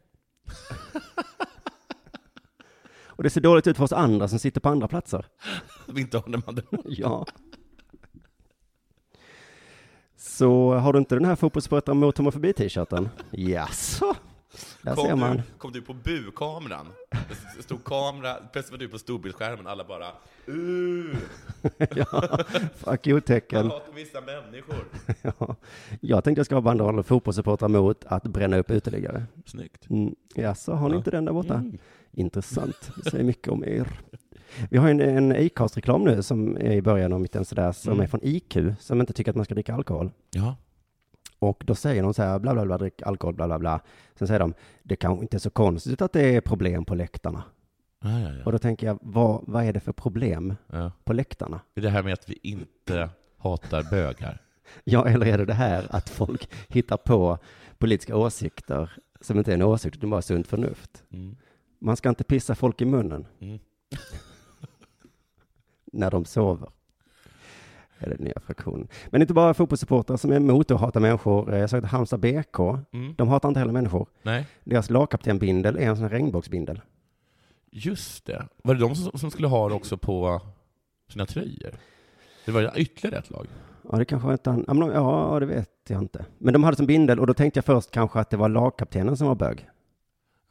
Och det ser dåligt ut för oss andra som sitter på andra platser.
Vi inte har den banderollen.
Ja. Så har du inte den här fotbollssupportrar mot homofobi t-shirten? Jaså? Där
kom,
ser man.
Du, kom du på bukameran? Det stod kamera, plötsligt var du på storbildsskärmen, alla bara uh.
ja, fuck you-tecken.
Jag hatar vissa människor.
ja. Jag tänkte jag ska ha banderoller fotbollssupportrar mot att bränna upp uteliggare.
Snyggt.
Mm. Jaså, har ni
Ja.
inte den där borta?
Mm.
Intressant. Det säger mycket om er. Vi har en, en Acast-reklam nu som är i början av mitten sådär, som
Mm.
är från IQ, som inte tycker att man ska dricka alkohol.
Ja.
Och då säger de så här, bla bla bla, drick alkohol, bla bla bla. Sen säger de, det kanske inte är så konstigt att det är problem på läktarna.
Ja, ja, ja.
Och då tänker jag, vad, vad är det för problem på läktarna?
Det är det här med att vi inte hatar bögar.
Ja, eller är det det här att folk hittar på politiska åsikter som inte är en åsikt, utan bara sunt förnuft?
Mm.
Man ska inte pissa folk i munnen
Mm.
när de sover. Det är den nya fraktionen. Men inte bara fotbollssupportrar som är emot att hata människor. Eh, Jag såg att Halmstad BK,
Mm.
de hatar inte heller människor.
Nej.
Deras lagkaptenbindel är en sån här regnbågsbindel.
Just det. Var det de som, som skulle ha det också på sina tröjor? Det var ytterligare ett lag.
Ja, det kanske var ett annat. Ja, men de- ja, det vet jag inte. Men de hade som bindel och då tänkte jag först kanske att det var lagkaptenen som var bög.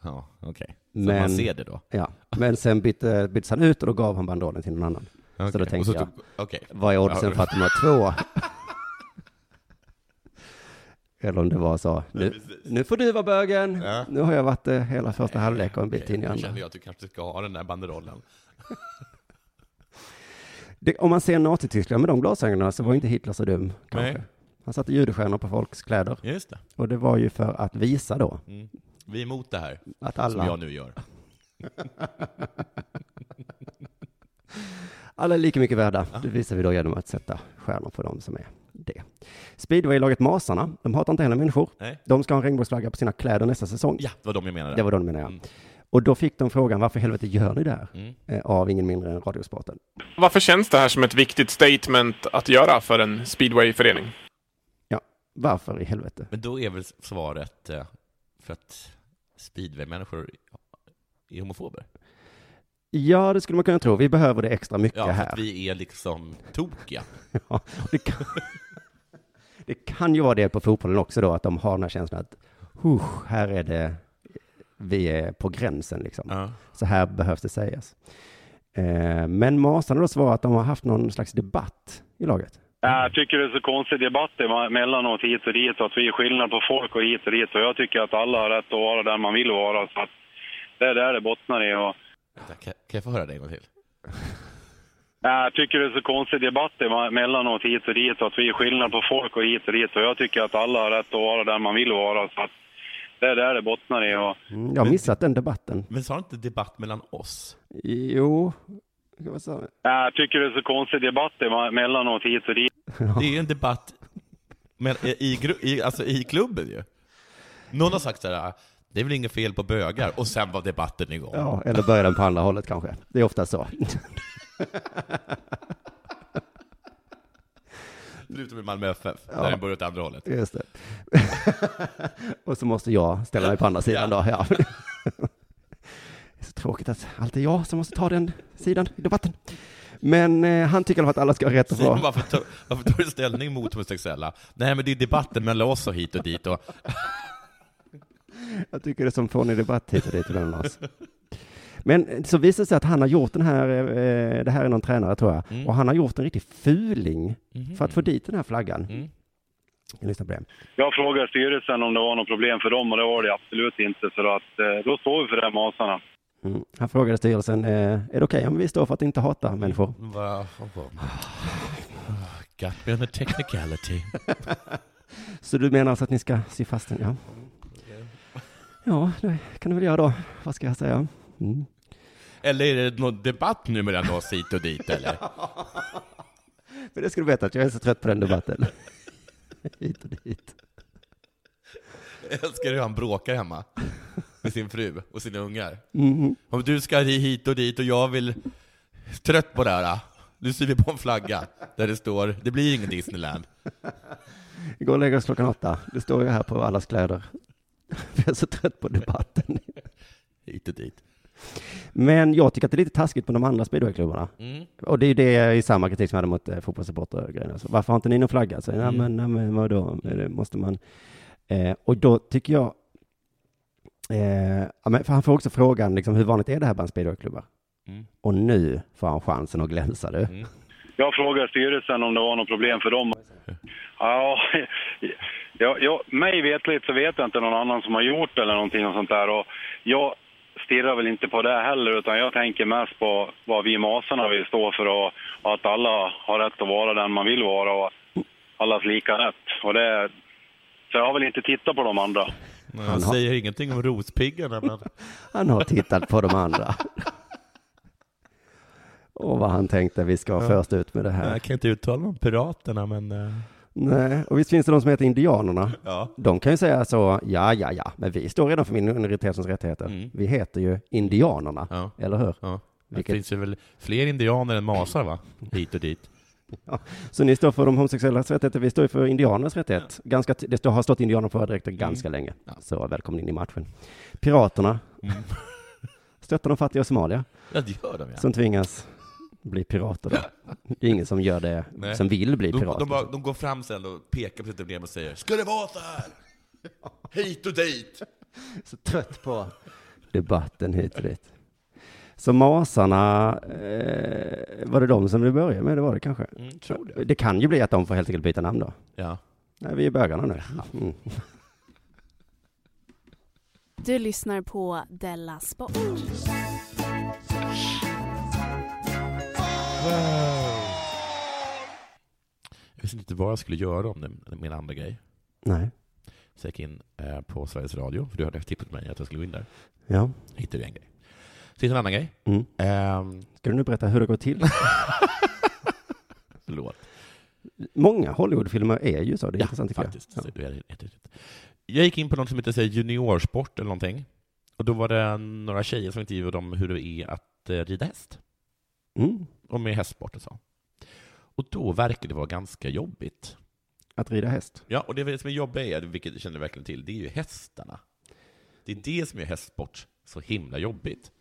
Ja, okej. Så
Men-
man ser det då?
Ja, men sen bytte, byttes han ut och då gav han bandollen till någon annan. Så
Okej,
då
och
tänkte
så
jag,
tog- okej.
vad är oddsen
Ja.
för att de har två? Eller om det var så, nu, nu får du vara bögen. Nu har jag varit det hela första halvlek och en bit in i
Nu
andra.
känner jag att du kanske ska ha den där banderollen.
Det, om man ser Nazityskland med de glasögonen så var ju inte Hitler så dum, kanske.
Nej.
Han satte judestjärnor på folks kläder.
Just det.
Och det var ju för att visa då.
Mm. Vi är emot det här,
Att alla-
som jag nu gör.
Alla är lika mycket värda. Det visar vi då genom att sätta stjärnor på dem som är det. Speedway-laget Masarna, de hatar inte heller människor.
Nej.
De ska ha en regnbågsflagga på sina kläder nästa säsong.
Ja, det var de jag menade.
Det var de menar jag. Och då fick de frågan, varför i helvete gör ni det här?
Mm.
Eh, Av ingen mindre än Radiosporten.
Varför känns det här som ett viktigt statement att göra för en speedwayförening?
Ja, varför i helvete?
Men då är väl svaret eh, för att speedway-människor är homofober?
Ja, det skulle man kunna tro. Vi behöver det extra mycket
Ja, för
här.
att vi är liksom tokiga.
Ja, det, kan, det kan ju vara det på fotbollen också då, att de har den här känslan att "Husch, här är det, vi är på gränsen liksom. Så här behövs det sägas. Eh, men Masarna då svarar att de har haft någon slags debatt i laget.
Jag tycker det är så konstig debatt emellanåt hit och dit och att vi är skillnad på folk och hit och dit. Och jag tycker att alla har rätt att vara där man vill vara. Så att det är där det bottnar i. Och...
Kan, kan jag få höra det en gång till?
Nej, Jag tycker det är så konstig debatt emellanåt hit och dit och att vi är skillnad på folk och hit och dit. Och jag tycker att alla har rätt att vara där man vill vara. Så att det är där det bottnar i. Och...
Mm, jag har missat den debatten.
Men sa du inte debatt mellan oss?
Jo, vad sa
Nej, Jag tycker det är så konstig debatt emellanåt hit och dit.
Det är ju en debatt men, i, gru- i, alltså, i klubben ju. Någon har sagt så här, det är väl inget fel på bögar, och sen var debatten igång.
Ja, eller börjar den på andra hållet kanske. Det är ofta så.
Förutom i Malmö FF,
Ja.
där den börjar åt andra hållet.
Just det. och så måste jag ställa mig på andra sidan då. Ja. det är så tråkigt att alltid jag som måste ta den sidan i debatten. Men eh, han tycker i alla fall att alla ska ha rätt att
Simon,
vara...
varför, tar- varför tar du ställning mot homosexuella? Nej, men det är debatten mellan oss och hit och dit. Och...
Jag tycker det är som fånig debatt hit och dit mellan oss. Men eh, så visar det sig att han har gjort den här, eh, det här är någon tränare tror jag,
Mm. Mm-hmm.
och han har gjort en riktig fuling för att få dit den här flaggan.
Mm.
Lyssna på det.
Jag frågade styrelsen om det var något problem för dem och det var det absolut inte. Så att, eh, då står vi för det här masarna.
Mm. Han frågade styrelsen, eh, är det okej om vi står för att inte hata
Mm.
människor?
Va- Got me on a technicality.
Så du menar alltså att ni ska sy fast den? Ja,
Mm.
ja det kan du väl göra då. Vad ska jag säga? Mm.
Eller är det någon debatt nu mellan oss hit och dit, eller?
Men det ska du veta att jag är så trött på den debatten. hit och dit.
Jag älskar hur han bråkar hemma med sin fru och sina ungar.
Mhm.
Om du ska hit och dit och jag vill... Trött på det här. Nu syr vi på en flagga där det står det blir ingen Disneyland.
Vi går och lägger oss klockan åtta. Det står ju här på allas kläder. jag är så trött på debatten.
Hit och dit.
Men jag tycker att det är lite taskigt på de andra speedwayklubbarna.
Mm.
Och det är ju det i samma kritik som jag hade mot eh, fotbollssupportergrejen. Alltså, varför har inte ni någon flagga? Så, nej,
Mm.
men, nej, men vadå, Är det- måste man? Eh, och då tycker jag Eh, ja, men för han får också frågan, liksom, hur vanligt är det här bland speedwayklubbar?
Mm.
Och nu får han chansen att glänsa du.
Jag frågade styrelsen om det var något problem för dem. Ja, ja, ja, mig vetligt så vet jag inte någon annan som har gjort det eller någonting och sånt där. Och jag stirrar väl inte på det heller, utan jag tänker mest på vad vi masarna vill stå för och, och att alla har rätt att vara den man vill vara och allas lika rätt. Och det, så jag har väl inte tittat på de andra.
Nej, Han
har-
säger ingenting om rospiggarna, men
Han har tittat på de andra. Och vad han tänkte, vi ska vara
Ja.
först ut med det här.
jag kan inte uttala mig om piraterna, men... eh,
Nej, och visst finns det de som heter indianerna.
Ja.
De kan ju säga så, ja, ja, ja, men vi står redan för minoritetens rättigheter. Vi heter ju indianerna, eller hur?
Mm. Ja. Det
Vilket-
finns ju väl fler indianer än masar, va? Hit och dit.
Så ni står för de homosexuellas rättigheter, vi står ju för indianernas rättighet. Ganska, t- det står, har stått indianer på
Mm.
direkt ganska länge. Så välkommen in i matchen. Piraterna.
Mm.
Stöttar de fattiga i Somalia.
Ja, det gör de, ja.
Som tvingas bli pirater. Då. Det är ingen som gör det,
Nej.
som vill bli
de,
pirater.
de, bara, de går fram sen och pekar på sitt emblem och säger ”Ska det vara så här? Hit och dit!”
Så trött på... Debatten hit och dit. Så masarna, eh, var det de som du började med? Det var det kanske?
Mm, tror
det. kan ju bli att de får helt enkelt byta namn då.
Ja.
Nej, vi är bögarna nu. Mm.
Du lyssnar på Della Sport.
Jag visste inte vad jag skulle göra om det, min andra grej.
Nej.
Så jag gick in eh, på Sveriges Radio, för du hade tippat mig att jag skulle gå in där.
Ja.
Hittade jag en grej. Så hittade jag en annan grej.
Mm.
Ehm,
Ska du nu berätta hur det går till?
Förlåt.
Många Hollywoodfilmer är ju så, det är
Ja,
intressant tycker
faktiskt. Så du är helt riktigt. Jag gick in på något som heter så här, juniorsport eller någonting. Och då var det några tjejer som intervjuade om hur det är att eh, rida häst.
Mm.
Och med hästsport och så. Och då verkar det vara ganska jobbigt.
jag. Att rida häst.
Ja, och det som är jobbigt är, vilket jag känner verkligen till, det är ju hästarna. Det är det som gör hästsport så himla jobbigt.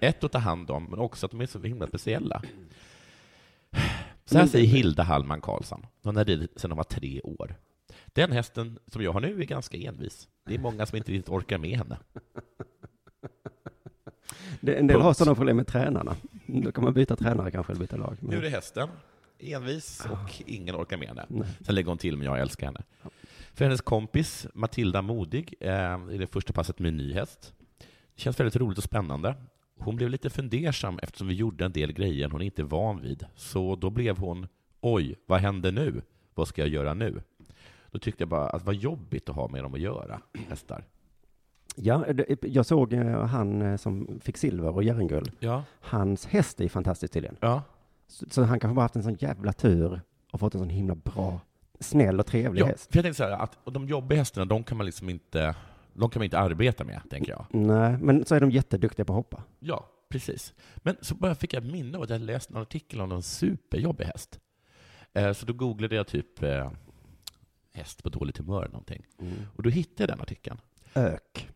Ett att ta hand om, men också att de är så himla speciella. Så här säger Hilda Hallman Karlsson. Hon har ridit sedan hon var tre år. Den hästen som jag har nu är ganska envis. Det är många som inte riktigt orkar med henne.
Det, en del har
Punkt.
sådana problem med tränarna. Då kan man byta tränare kanske, eller byta lag. Men-
Nu är det hästen. Envis och ingen orkar med henne. Sen lägger hon till, men jag älskar henne. För hennes kompis Matilda Modig eh, i det första passet med en ny häst. Det känns väldigt roligt och spännande. Hon blev lite fundersam eftersom vi gjorde en del grejer hon inte är van vid. Så då blev hon ”Oj, vad händer nu? Vad ska jag göra nu?” Då tyckte jag bara att det var jobbigt att ha med dem att göra, hästar.
Ja, det, jag såg eh, han eh, som fick silver och järnguld.
Ja.
Hans häst är ju fantastisk tydligen.
Ja.
Så, så han kanske bara haft en sån jävla tur och fått en sån himla bra, snäll och trevlig
Ja,
häst.
för jag tänkte så här, att och de jobbiga hästarna, de kan man liksom inte, de kan man inte arbeta med, tänker jag.
Nej, men så är de jätteduktiga på att hoppa.
Ja, precis. Men så bara fick jag minne av att jag läst en artikel om någon superjobbig häst. Eh, Så då googlade jag typ eh, häst på dåligt humör eller någonting. Och då hittade jag den artikeln.
Ök.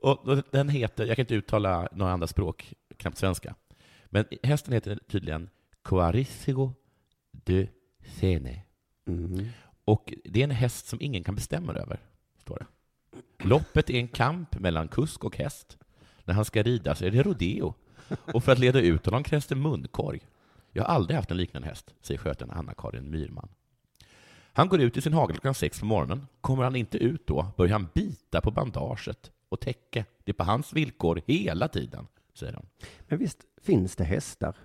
och och den heter, jag kan inte uttala några andra språk, knappt svenska. Men hästen heter tydligen Coarissigo de Sene. Mm. Och det är en häst som ingen kan bestämma över, står det. Loppet är en kamp mellan kusk och häst. När han ska rida så är det rodeo. Och för att leda ut honom krävs det munkorg. Jag har aldrig haft en liknande häst, säger skötaren Anna-Karin Myrman. Han går ut i sin hagel klockan sex på morgonen. Kommer han inte ut då börjar han bita på bandaget och täcke. Det är på hans villkor hela tiden, säger han.
Men visst finns det hästar?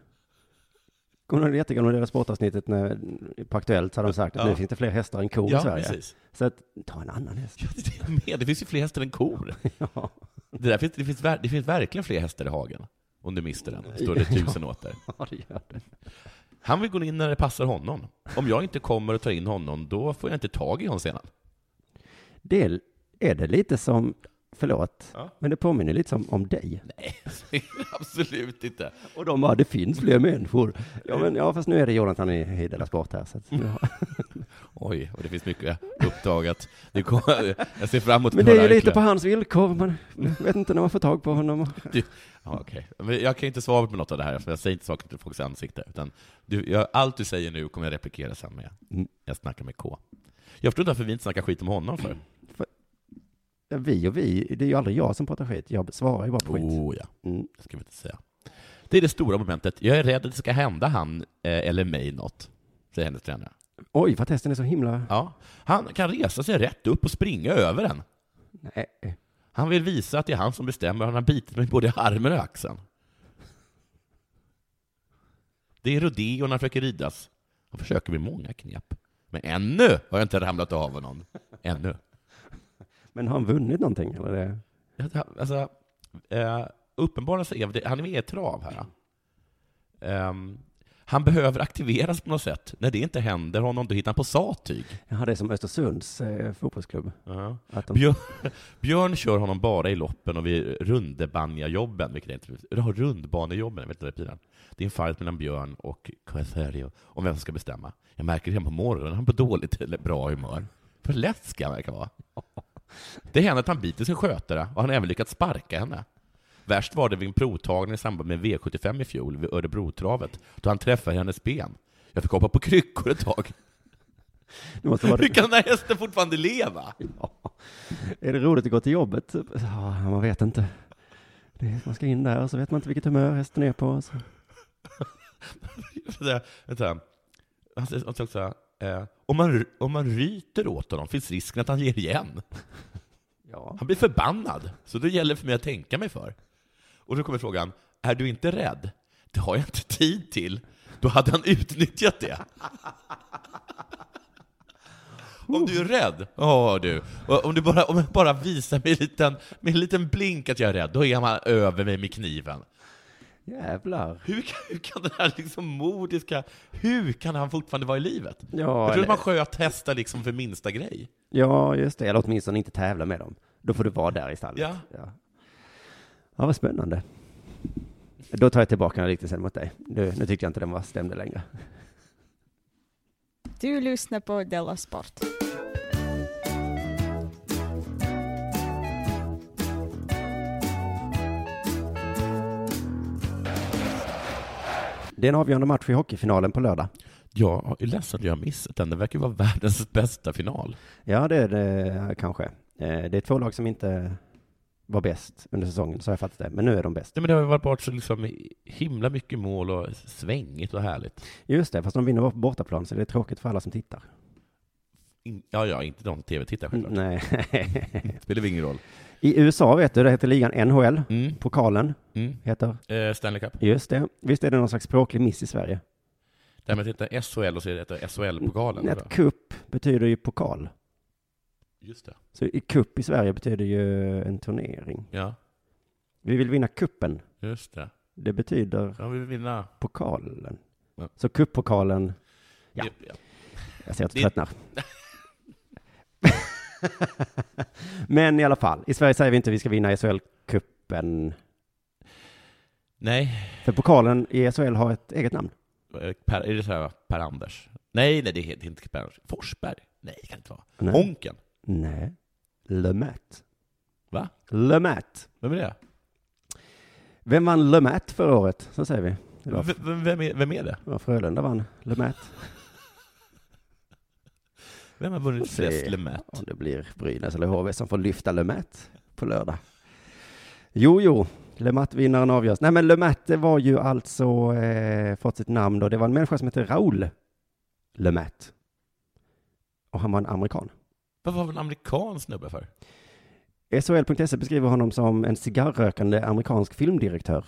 Kommer du ihåg det jättegamla deras sportavsnittet när, på Aktuellt så hade de sagt att
Ja.
nu finns det fler hästar än kor
Ja,
i Sverige.
precis.
Så att, ta en annan häst.
Men det finns ju fler hästar än kor. Det, där finns, det, finns, ver- det finns verkligen fler hästar i hagen. Om du mister den, står det tusen åter.
Ja, det gör det.
Han vill gå in när det passar honom. Om jag inte kommer och tar in honom, då får jag inte tag i honom sedan.
Det är, är det lite som, förlåt, men det påminner lite som om dig.
Nej, absolut inte.
Och de bara, det finns fler människor. Ja, men, ja fast nu är det Jonathan i, i Della Sport här. Så att,
Mm.
ja.
Oj, och det finns mycket uppdagat. Det kommer, jag ser fram emot
Men det är ju
några
lite
enklare-
på hans villkor. Man vet inte när man får tag på honom.
Du, ja, okej. Men jag kan inte svara på något av det här, för jag säger inte saker till folks ansikte. Utan du, jag, allt du säger nu kommer jag replikera sen
Mm.
med. Jag snackar med K. Jag förstår inte varför vi inte snackar skit om honom för.
Ja, vi och vi, det är ju aldrig jag som pratar skit. Jag svarar ju bara på skit.
Oh ja, det ska vi inte säga. Det är det stora momentet. Jag är rädd att det ska hända han eh, eller mig något, säger hennes tränare.
Oj, vad testen är så himla...
Ja. Han kan resa sig rätt upp och springa över den.
Nej.
Han vill visa att det är han som bestämmer. Han har bitit mig både i armen och axeln. Det är rodeo när han försöker ridas. Han försöker med många knep. Men ännu har jag inte ramlat av någon. Ännu.
Men har han vunnit någonting eller? Det?
Alltså, eh, uppenbarligen så är det, han är med i ett trav här. Ehm, han behöver aktiveras på något sätt. När det inte händer honom, då hittar han på sattyg.
Jaha, det är som Östersunds eh, fotbollsklubb. Att de...
Björn, Björn kör honom bara i loppen och vid rundebanjajobben, vilket är inte... Eller har rundbanejobben, vet du vad det är? Det är en fight mellan Björn och Quatherio om vem som ska bestämma. Jag märker det redan på morgonen, han är på dåligt eller bra humör. För läskig han verkar vara. Det händer att han biter sin skötare och han har även lyckats sparka henne. Värst var det vid en provtagning i samband med V75 i fjol vid Örebrotravet, då han träffade hennes ben. Jag fick hoppa på kryckor ett tag.
Det måste vara-
Hur kan den här hästen fortfarande leva?
Är det roligt att gå till jobbet? Ja, man vet inte. Det är, man ska in där och så vet man inte vilket humör hästen är på. Så.
Sådär, vänta. Han säger han säger också så här, eh, om, man, om man ryter åt honom finns risken att han ger igen. Han blir förbannad, så då gäller det för mig att tänka mig för. Och då kommer frågan, är du inte rädd? Det har jag inte tid till. Då hade han utnyttjat det. Om du är rädd, ja du. Och Om du bara, om jag bara visar mig en liten, med en liten blink att jag är rädd, då är han över mig med kniven.
Jävlar.
Hur kan, hur kan den här liksom modiska, hur kan han fortfarande vara i livet?
Ja,
jag trodde
eller-
man sköt hästar liksom för minsta grej.
Ja, just det. Eller åtminstone inte tävla med dem. Då får du vara där i stallet.
Ja.
ja. Ja, vad spännande. Då tar jag tillbaka den riktigt sen mot dig. Du, nu tyckte jag inte den var stämde längre.
Du lyssnar på Della Sport.
Det är en avgörande match i hockeyfinalen på lördag.
Ja, jag är ledsen att jag har missat den. Det verkar ju vara världens bästa final.
Ja, det är det kanske. Eh, Det är två lag som inte var bäst under säsongen, så har jag fattat det. Men nu är de bäst.
Nej, men det har ju varit så liksom himla mycket mål och svängigt och härligt.
Just det, fast de vinner bara på bortaplan, så det är tråkigt för alla som tittar.
In, ja, ja, inte de tv-tittare självklart.
Nej.
Spelar väl ingen roll.
I USA vet du, det heter ligan NHL. Pokalen
Mm.
heter.
Eh, Stanley Cup.
Just det. Visst är det någon slags språklig miss i Sverige?
Där man tittar SHL och så heter det SHL-pokalen.
Ett cup betyder ju pokal.
Just det.
Så i cup i Sverige betyder ju en turnering.
Ja,
Vi vill vinna kuppen.
just det.
Det betyder
Ja, vi vill vinna.
pokalen.
Ja.
Så cuppokalen. Ja.
Ja.
Jag ser att du
Det-
tröttnar. Men i alla fall, i Sverige säger vi inte vi ska vinna SHL-cupen.
Nej,
För pokalen i SHL har ett eget namn.
eh, per, är det så här Per-Anders? Nej, nej, det heter inte Per-Anders. Forsberg? Nej, det kan inte vara.
Nej.
Honken?
Nej. Lemet.
Va?
Lemet.
Vem är det?
Vem vann Lemet förra året? Så säger vi. Det var,
V- Vem, vem, är, vem är det?
ja, Frölunda vann Lemet.
Vem har vunnit flest Lemet?
Om det blir Brynäs eller HV som får lyfta Lemet på lördag. Jo, jo. Lemat-vinnaren avgörs. Nej, men Lemat det var ju alltså eh, fått sitt namn då. Det var en människa som hette Raoul Lemat. Och han var en amerikan.
Vad var en amerikan snubbe för?
SHL.se E beskriver honom som en cigarrökande amerikansk filmdirektör.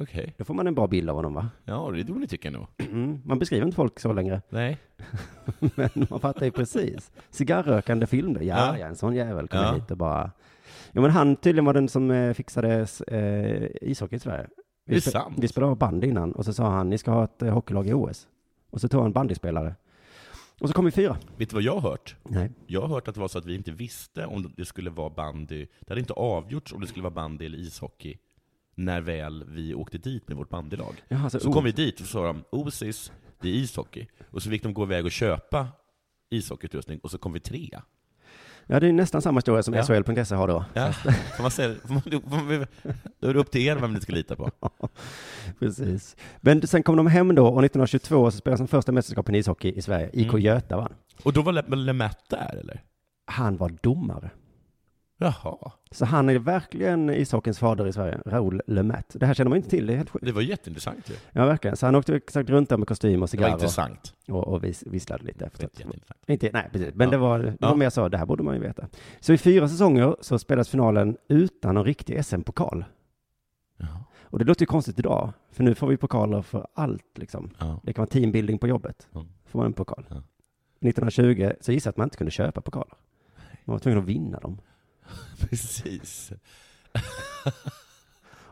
Okej.
Då får man en bra bild av honom, va?
Ja, det borde ni tycka nog.
Mm, man beskriver inte folk så längre.
Nej.
Men man fattar ju precis. Cigarrökande film, då. ja,
Ja.
ja, en sån jävel kommer
Ja.
hit och bara... Jo, men han tydligen var den som eh, fixade eh, ishockey i Sverige.
Det är
spe-
sant.
vi spelade bandy innan och så sa han, ni ska ha ett eh, hockeylag i OS. Och så tog han bandyspelare. Och så kom vi fyra.
Vet du vad jag har hört?
Nej.
Jag har hört att det var så att vi inte visste om det skulle vara bandy. Det hade inte avgjorts om det skulle vara bandy eller ishockey när väl vi åkte dit med vårt bandylag.
Jaha, så-
så kom vi dit och så sa de Osis, det är ishockey. Och så fick de gå iväg och köpa ishockeyutrustning och så kom vi trea.
Ja, det är nästan samma historia som
Ja.
SHL.se har då.
Ja, får man säga, får man, får man, då är det upp till er vem ni ska lita på.
Precis. Men sen kom de hem då och 1922 så spelades den första mästerskapen i ishockey i Sverige. IK
Mm.
Göta vann.
Och då var Le- Lemette där, eller?
Han var domare.
Jaha.
Så han är verkligen ishockeyns fader i Sverige, Raoul Lemet. Det här känner man inte till, det är helt sjukt.
Det var jätteintressant ju.
Ja, verkligen. Så han åkte exakt runt där med kostym och
Det var
cigarrer.
intressant.
Och, och vis- visslade lite efteråt.
jätteintressant.
Inte, nej, precis. Men det var, det var
Ja.
mer så, det här borde man ju veta. Så i fyra säsonger så spelas finalen utan någon riktig SM-pokal. Och det låter ju konstigt idag, för nu får vi pokaler för allt liksom. Det kan vara teambuilding på jobbet,
Mm.
får man en pokal. 1920 så gissar jag att man inte kunde köpa pokaler. Man var tvungen att vinna dem.
Precis.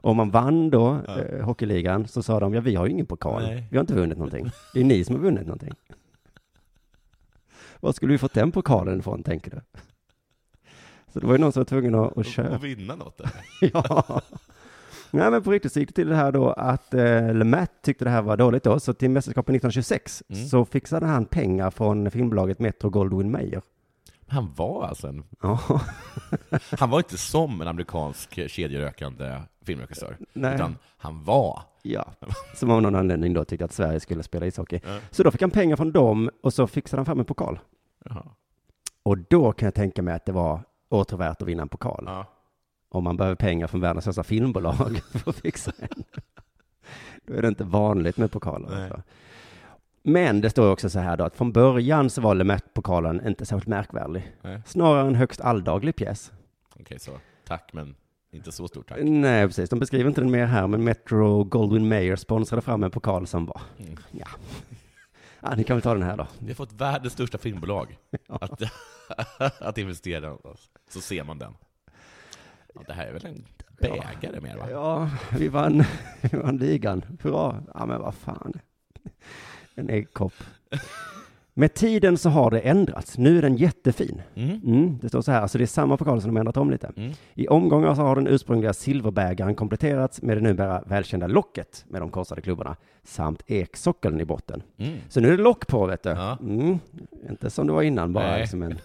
Om man vann då eh, hockeyligan så sa de, ja vi har ju ingen pokal,
Nej.
vi har inte vunnit någonting. Det är ni som har vunnit någonting. Var skulle vi fått den pokalen ifrån, tänker du? Så det var ju någon som var tvungen att, att köpa.
Och vinna något där.
ja. Nej men på riktigt så gick det till det här då att eh, Lemet tyckte det här var dåligt då, så till mästerskapet 1926
Mm.
så fixade han pengar från filmbolaget Metro Goldwyn Mayer.
Han var alltså en...
Ja.
Han var inte som en amerikansk kedjerökande filmregissör,
Nej.
utan han var...
Ja. Som av någon anledning då tyckte att Sverige skulle spela ishockey. Så då fick han pengar från dem och så fixade han fram en pokal. Och då kan jag tänka mig att det var återvärt att vinna en pokal. Om man behöver pengar från världens största filmbolag för att fixa en. Då är det inte vanligt med pokaler. Alltså. Men det står ju också så här då att från början så var Lemet-pokalen inte särskilt märkvärdig.
Nej.
Snarare en högst alldaglig pjäs.
Okej, så tack, men inte så stort tack.
Nej, precis. De beskriver inte den mer här, men Metro Goldwyn Mayer sponsrade fram en pokal som var.
Mm.
Ja. ja, ni kan väl ta den här då.
Vi har fått världens största filmbolag att, att investera i oss. Så ser man den. Ja, det här är väl en bägare mer, va?
Ja, vi vann, vi vann ligan. Hurra! Ja, men vad fan. En äggkopp. Med tiden så har det ändrats. Nu är den jättefin.
Mm.
det står så här, alltså det är samma pokal som de har ändrat om lite.
Mm.
I omgångar så har den ursprungliga silverbägaren kompletterats med det numera välkända locket med de korsade klubborna samt eksockeln i botten.
Mm.
Så nu är det lock på, vet du. Mm. Inte som det var innan, bara
Nej.
liksom en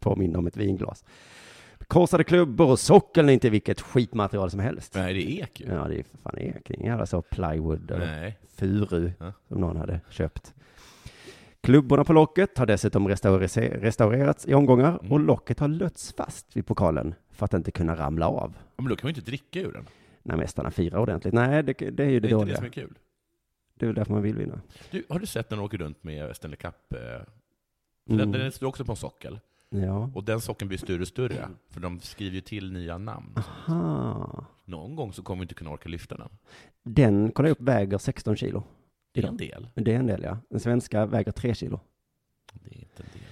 påminner om ett vinglas. Korsade klubbor och sockeln är inte vilket skitmaterial som helst.
Nej, det är ek ju.
Ja, det är för fan ek. Det är ingen jävla så plywood eller
Nej.
furu som någon hade köpt. Klubborna på locket har dessutom restaurese- restaurerats i omgångar
Mm.
och locket har lötts fast vid pokalen för att inte kunna ramla av
Ja, men då kan man ju inte dricka ur den.
när mästarna firar ordentligt. Nej, det, det är ju det,
Det är inte det
dåliga.
som är kul.
Det är väl därför man vill vinna.
Du, har du sett när de åker runt med Stanley Cup? eh, för Den,
Mm.
den står också på en sockel.
Ja.
Och den sockeln blir större och större, för de skriver ju till nya namn.
Aha.
Någon gång så kommer vi inte kunna orka lyfta den.
Den, kolla upp, väger 16 kilo.
Det är en del.
Det är en del, ja. Den svenska väger 3 kilo.
Det är inte en del.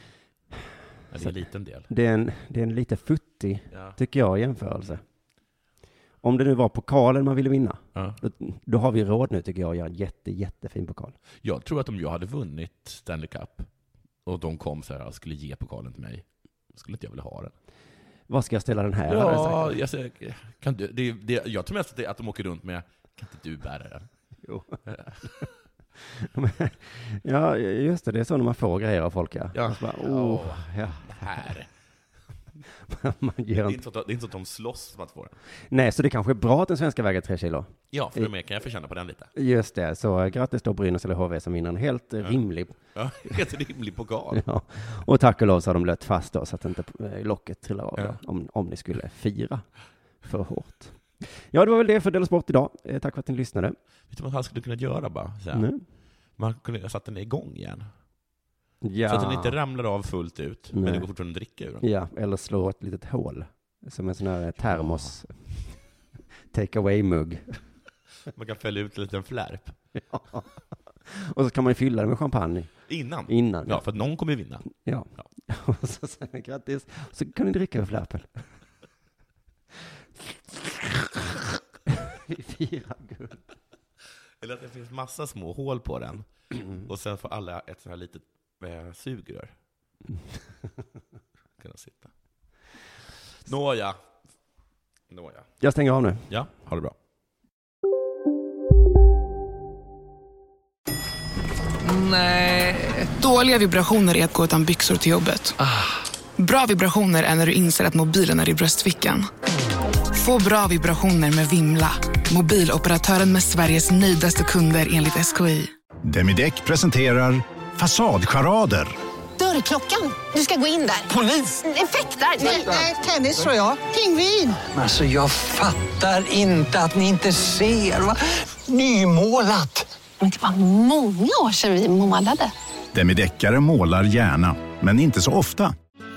Ja, det är en liten del.
Det är en, det är en lite futtig,
Ja.
tycker jag, jämförelse. Om det nu var pokalen man ville vinna, då, då har vi råd nu tycker jag att göra en jätte, jättefin pokal.
Jag tror att om jag hade vunnit Stanley Cup och de kom så här och skulle ge pokalen till mig, då skulle inte jag vilja ha den.
Vad ska jag ställa den här? hade jag
Ja,
sagt.
jag, säger, kan du, det, det, jag tror mest att, det, är att de åker runt med, kan inte du bära den?
Jo. ja, just det, det är så när man får grejer av folk, ja.
Ja.
Och så bara, oh, ja.
Här.
Man
Det
ger
är,
en...
inte så att, det är inte så att de slåss om att få den.
Nej, så det kanske är bra att den svenska väger 3 kilo.
Ja,
Eh.
för mer kan jag få känna på den lite.
Just det, så eh, grattis då Brynäs eller HV som vinner en helt eh, rimlig
Ja, helt rimlig pokal.
Ja. Och tack och lov så har de lött fast då så att inte eh, locket trillar av då, om, om ni skulle fira för hårt. Ja, det var väl det för Della Sport idag. Eh, Tack för att ni lyssnade.
Vet du vad han skulle kunna göra bara? Så här.
Nej.
Man kunde satt den igång igen.
Ja.
Så att den inte ramlar av fullt ut, men
Nej.
det går fortfarande att dricka ur den.
Ja, eller slå ett litet hål. Som en sån här eh, termos. Take away-mugg.
Man kan fälla ut en liten flärp.
Och så kan man ju fylla det med champagne.
Innan.
Innan.
Ja, för att någon kommer ju vinna.
Ja. Och så säger jag grattis. Så kan ni dricka ur flärpen. Vi firar guld.
Eller att det finns massa små hål på den. Och sen får alla ett sånt här litet eh, sugrör. Kunna sitta. Nåja. Nåja.
Jag stänger av nu.
Ja, ha det bra.
Nej. Dåliga vibrationer är att gå utan byxor till jobbet. Bra vibrationer är när du inser att mobilen är i bröstfickan. Få bra vibrationer med Vimla. Mobiloperatören med Sveriges nöjdaste kunder enligt SKI.
Demideck presenterar Fasadcharader. Dörrklockan. Du ska gå in där. Polis? Effektar? Nej, nej, tennis tror jag. Pingvin.
Alltså jag fattar inte att ni inte ser. Va? Nymålat.
Men det var många år sedan vi målade.
Demideckare målar gärna, men inte så ofta.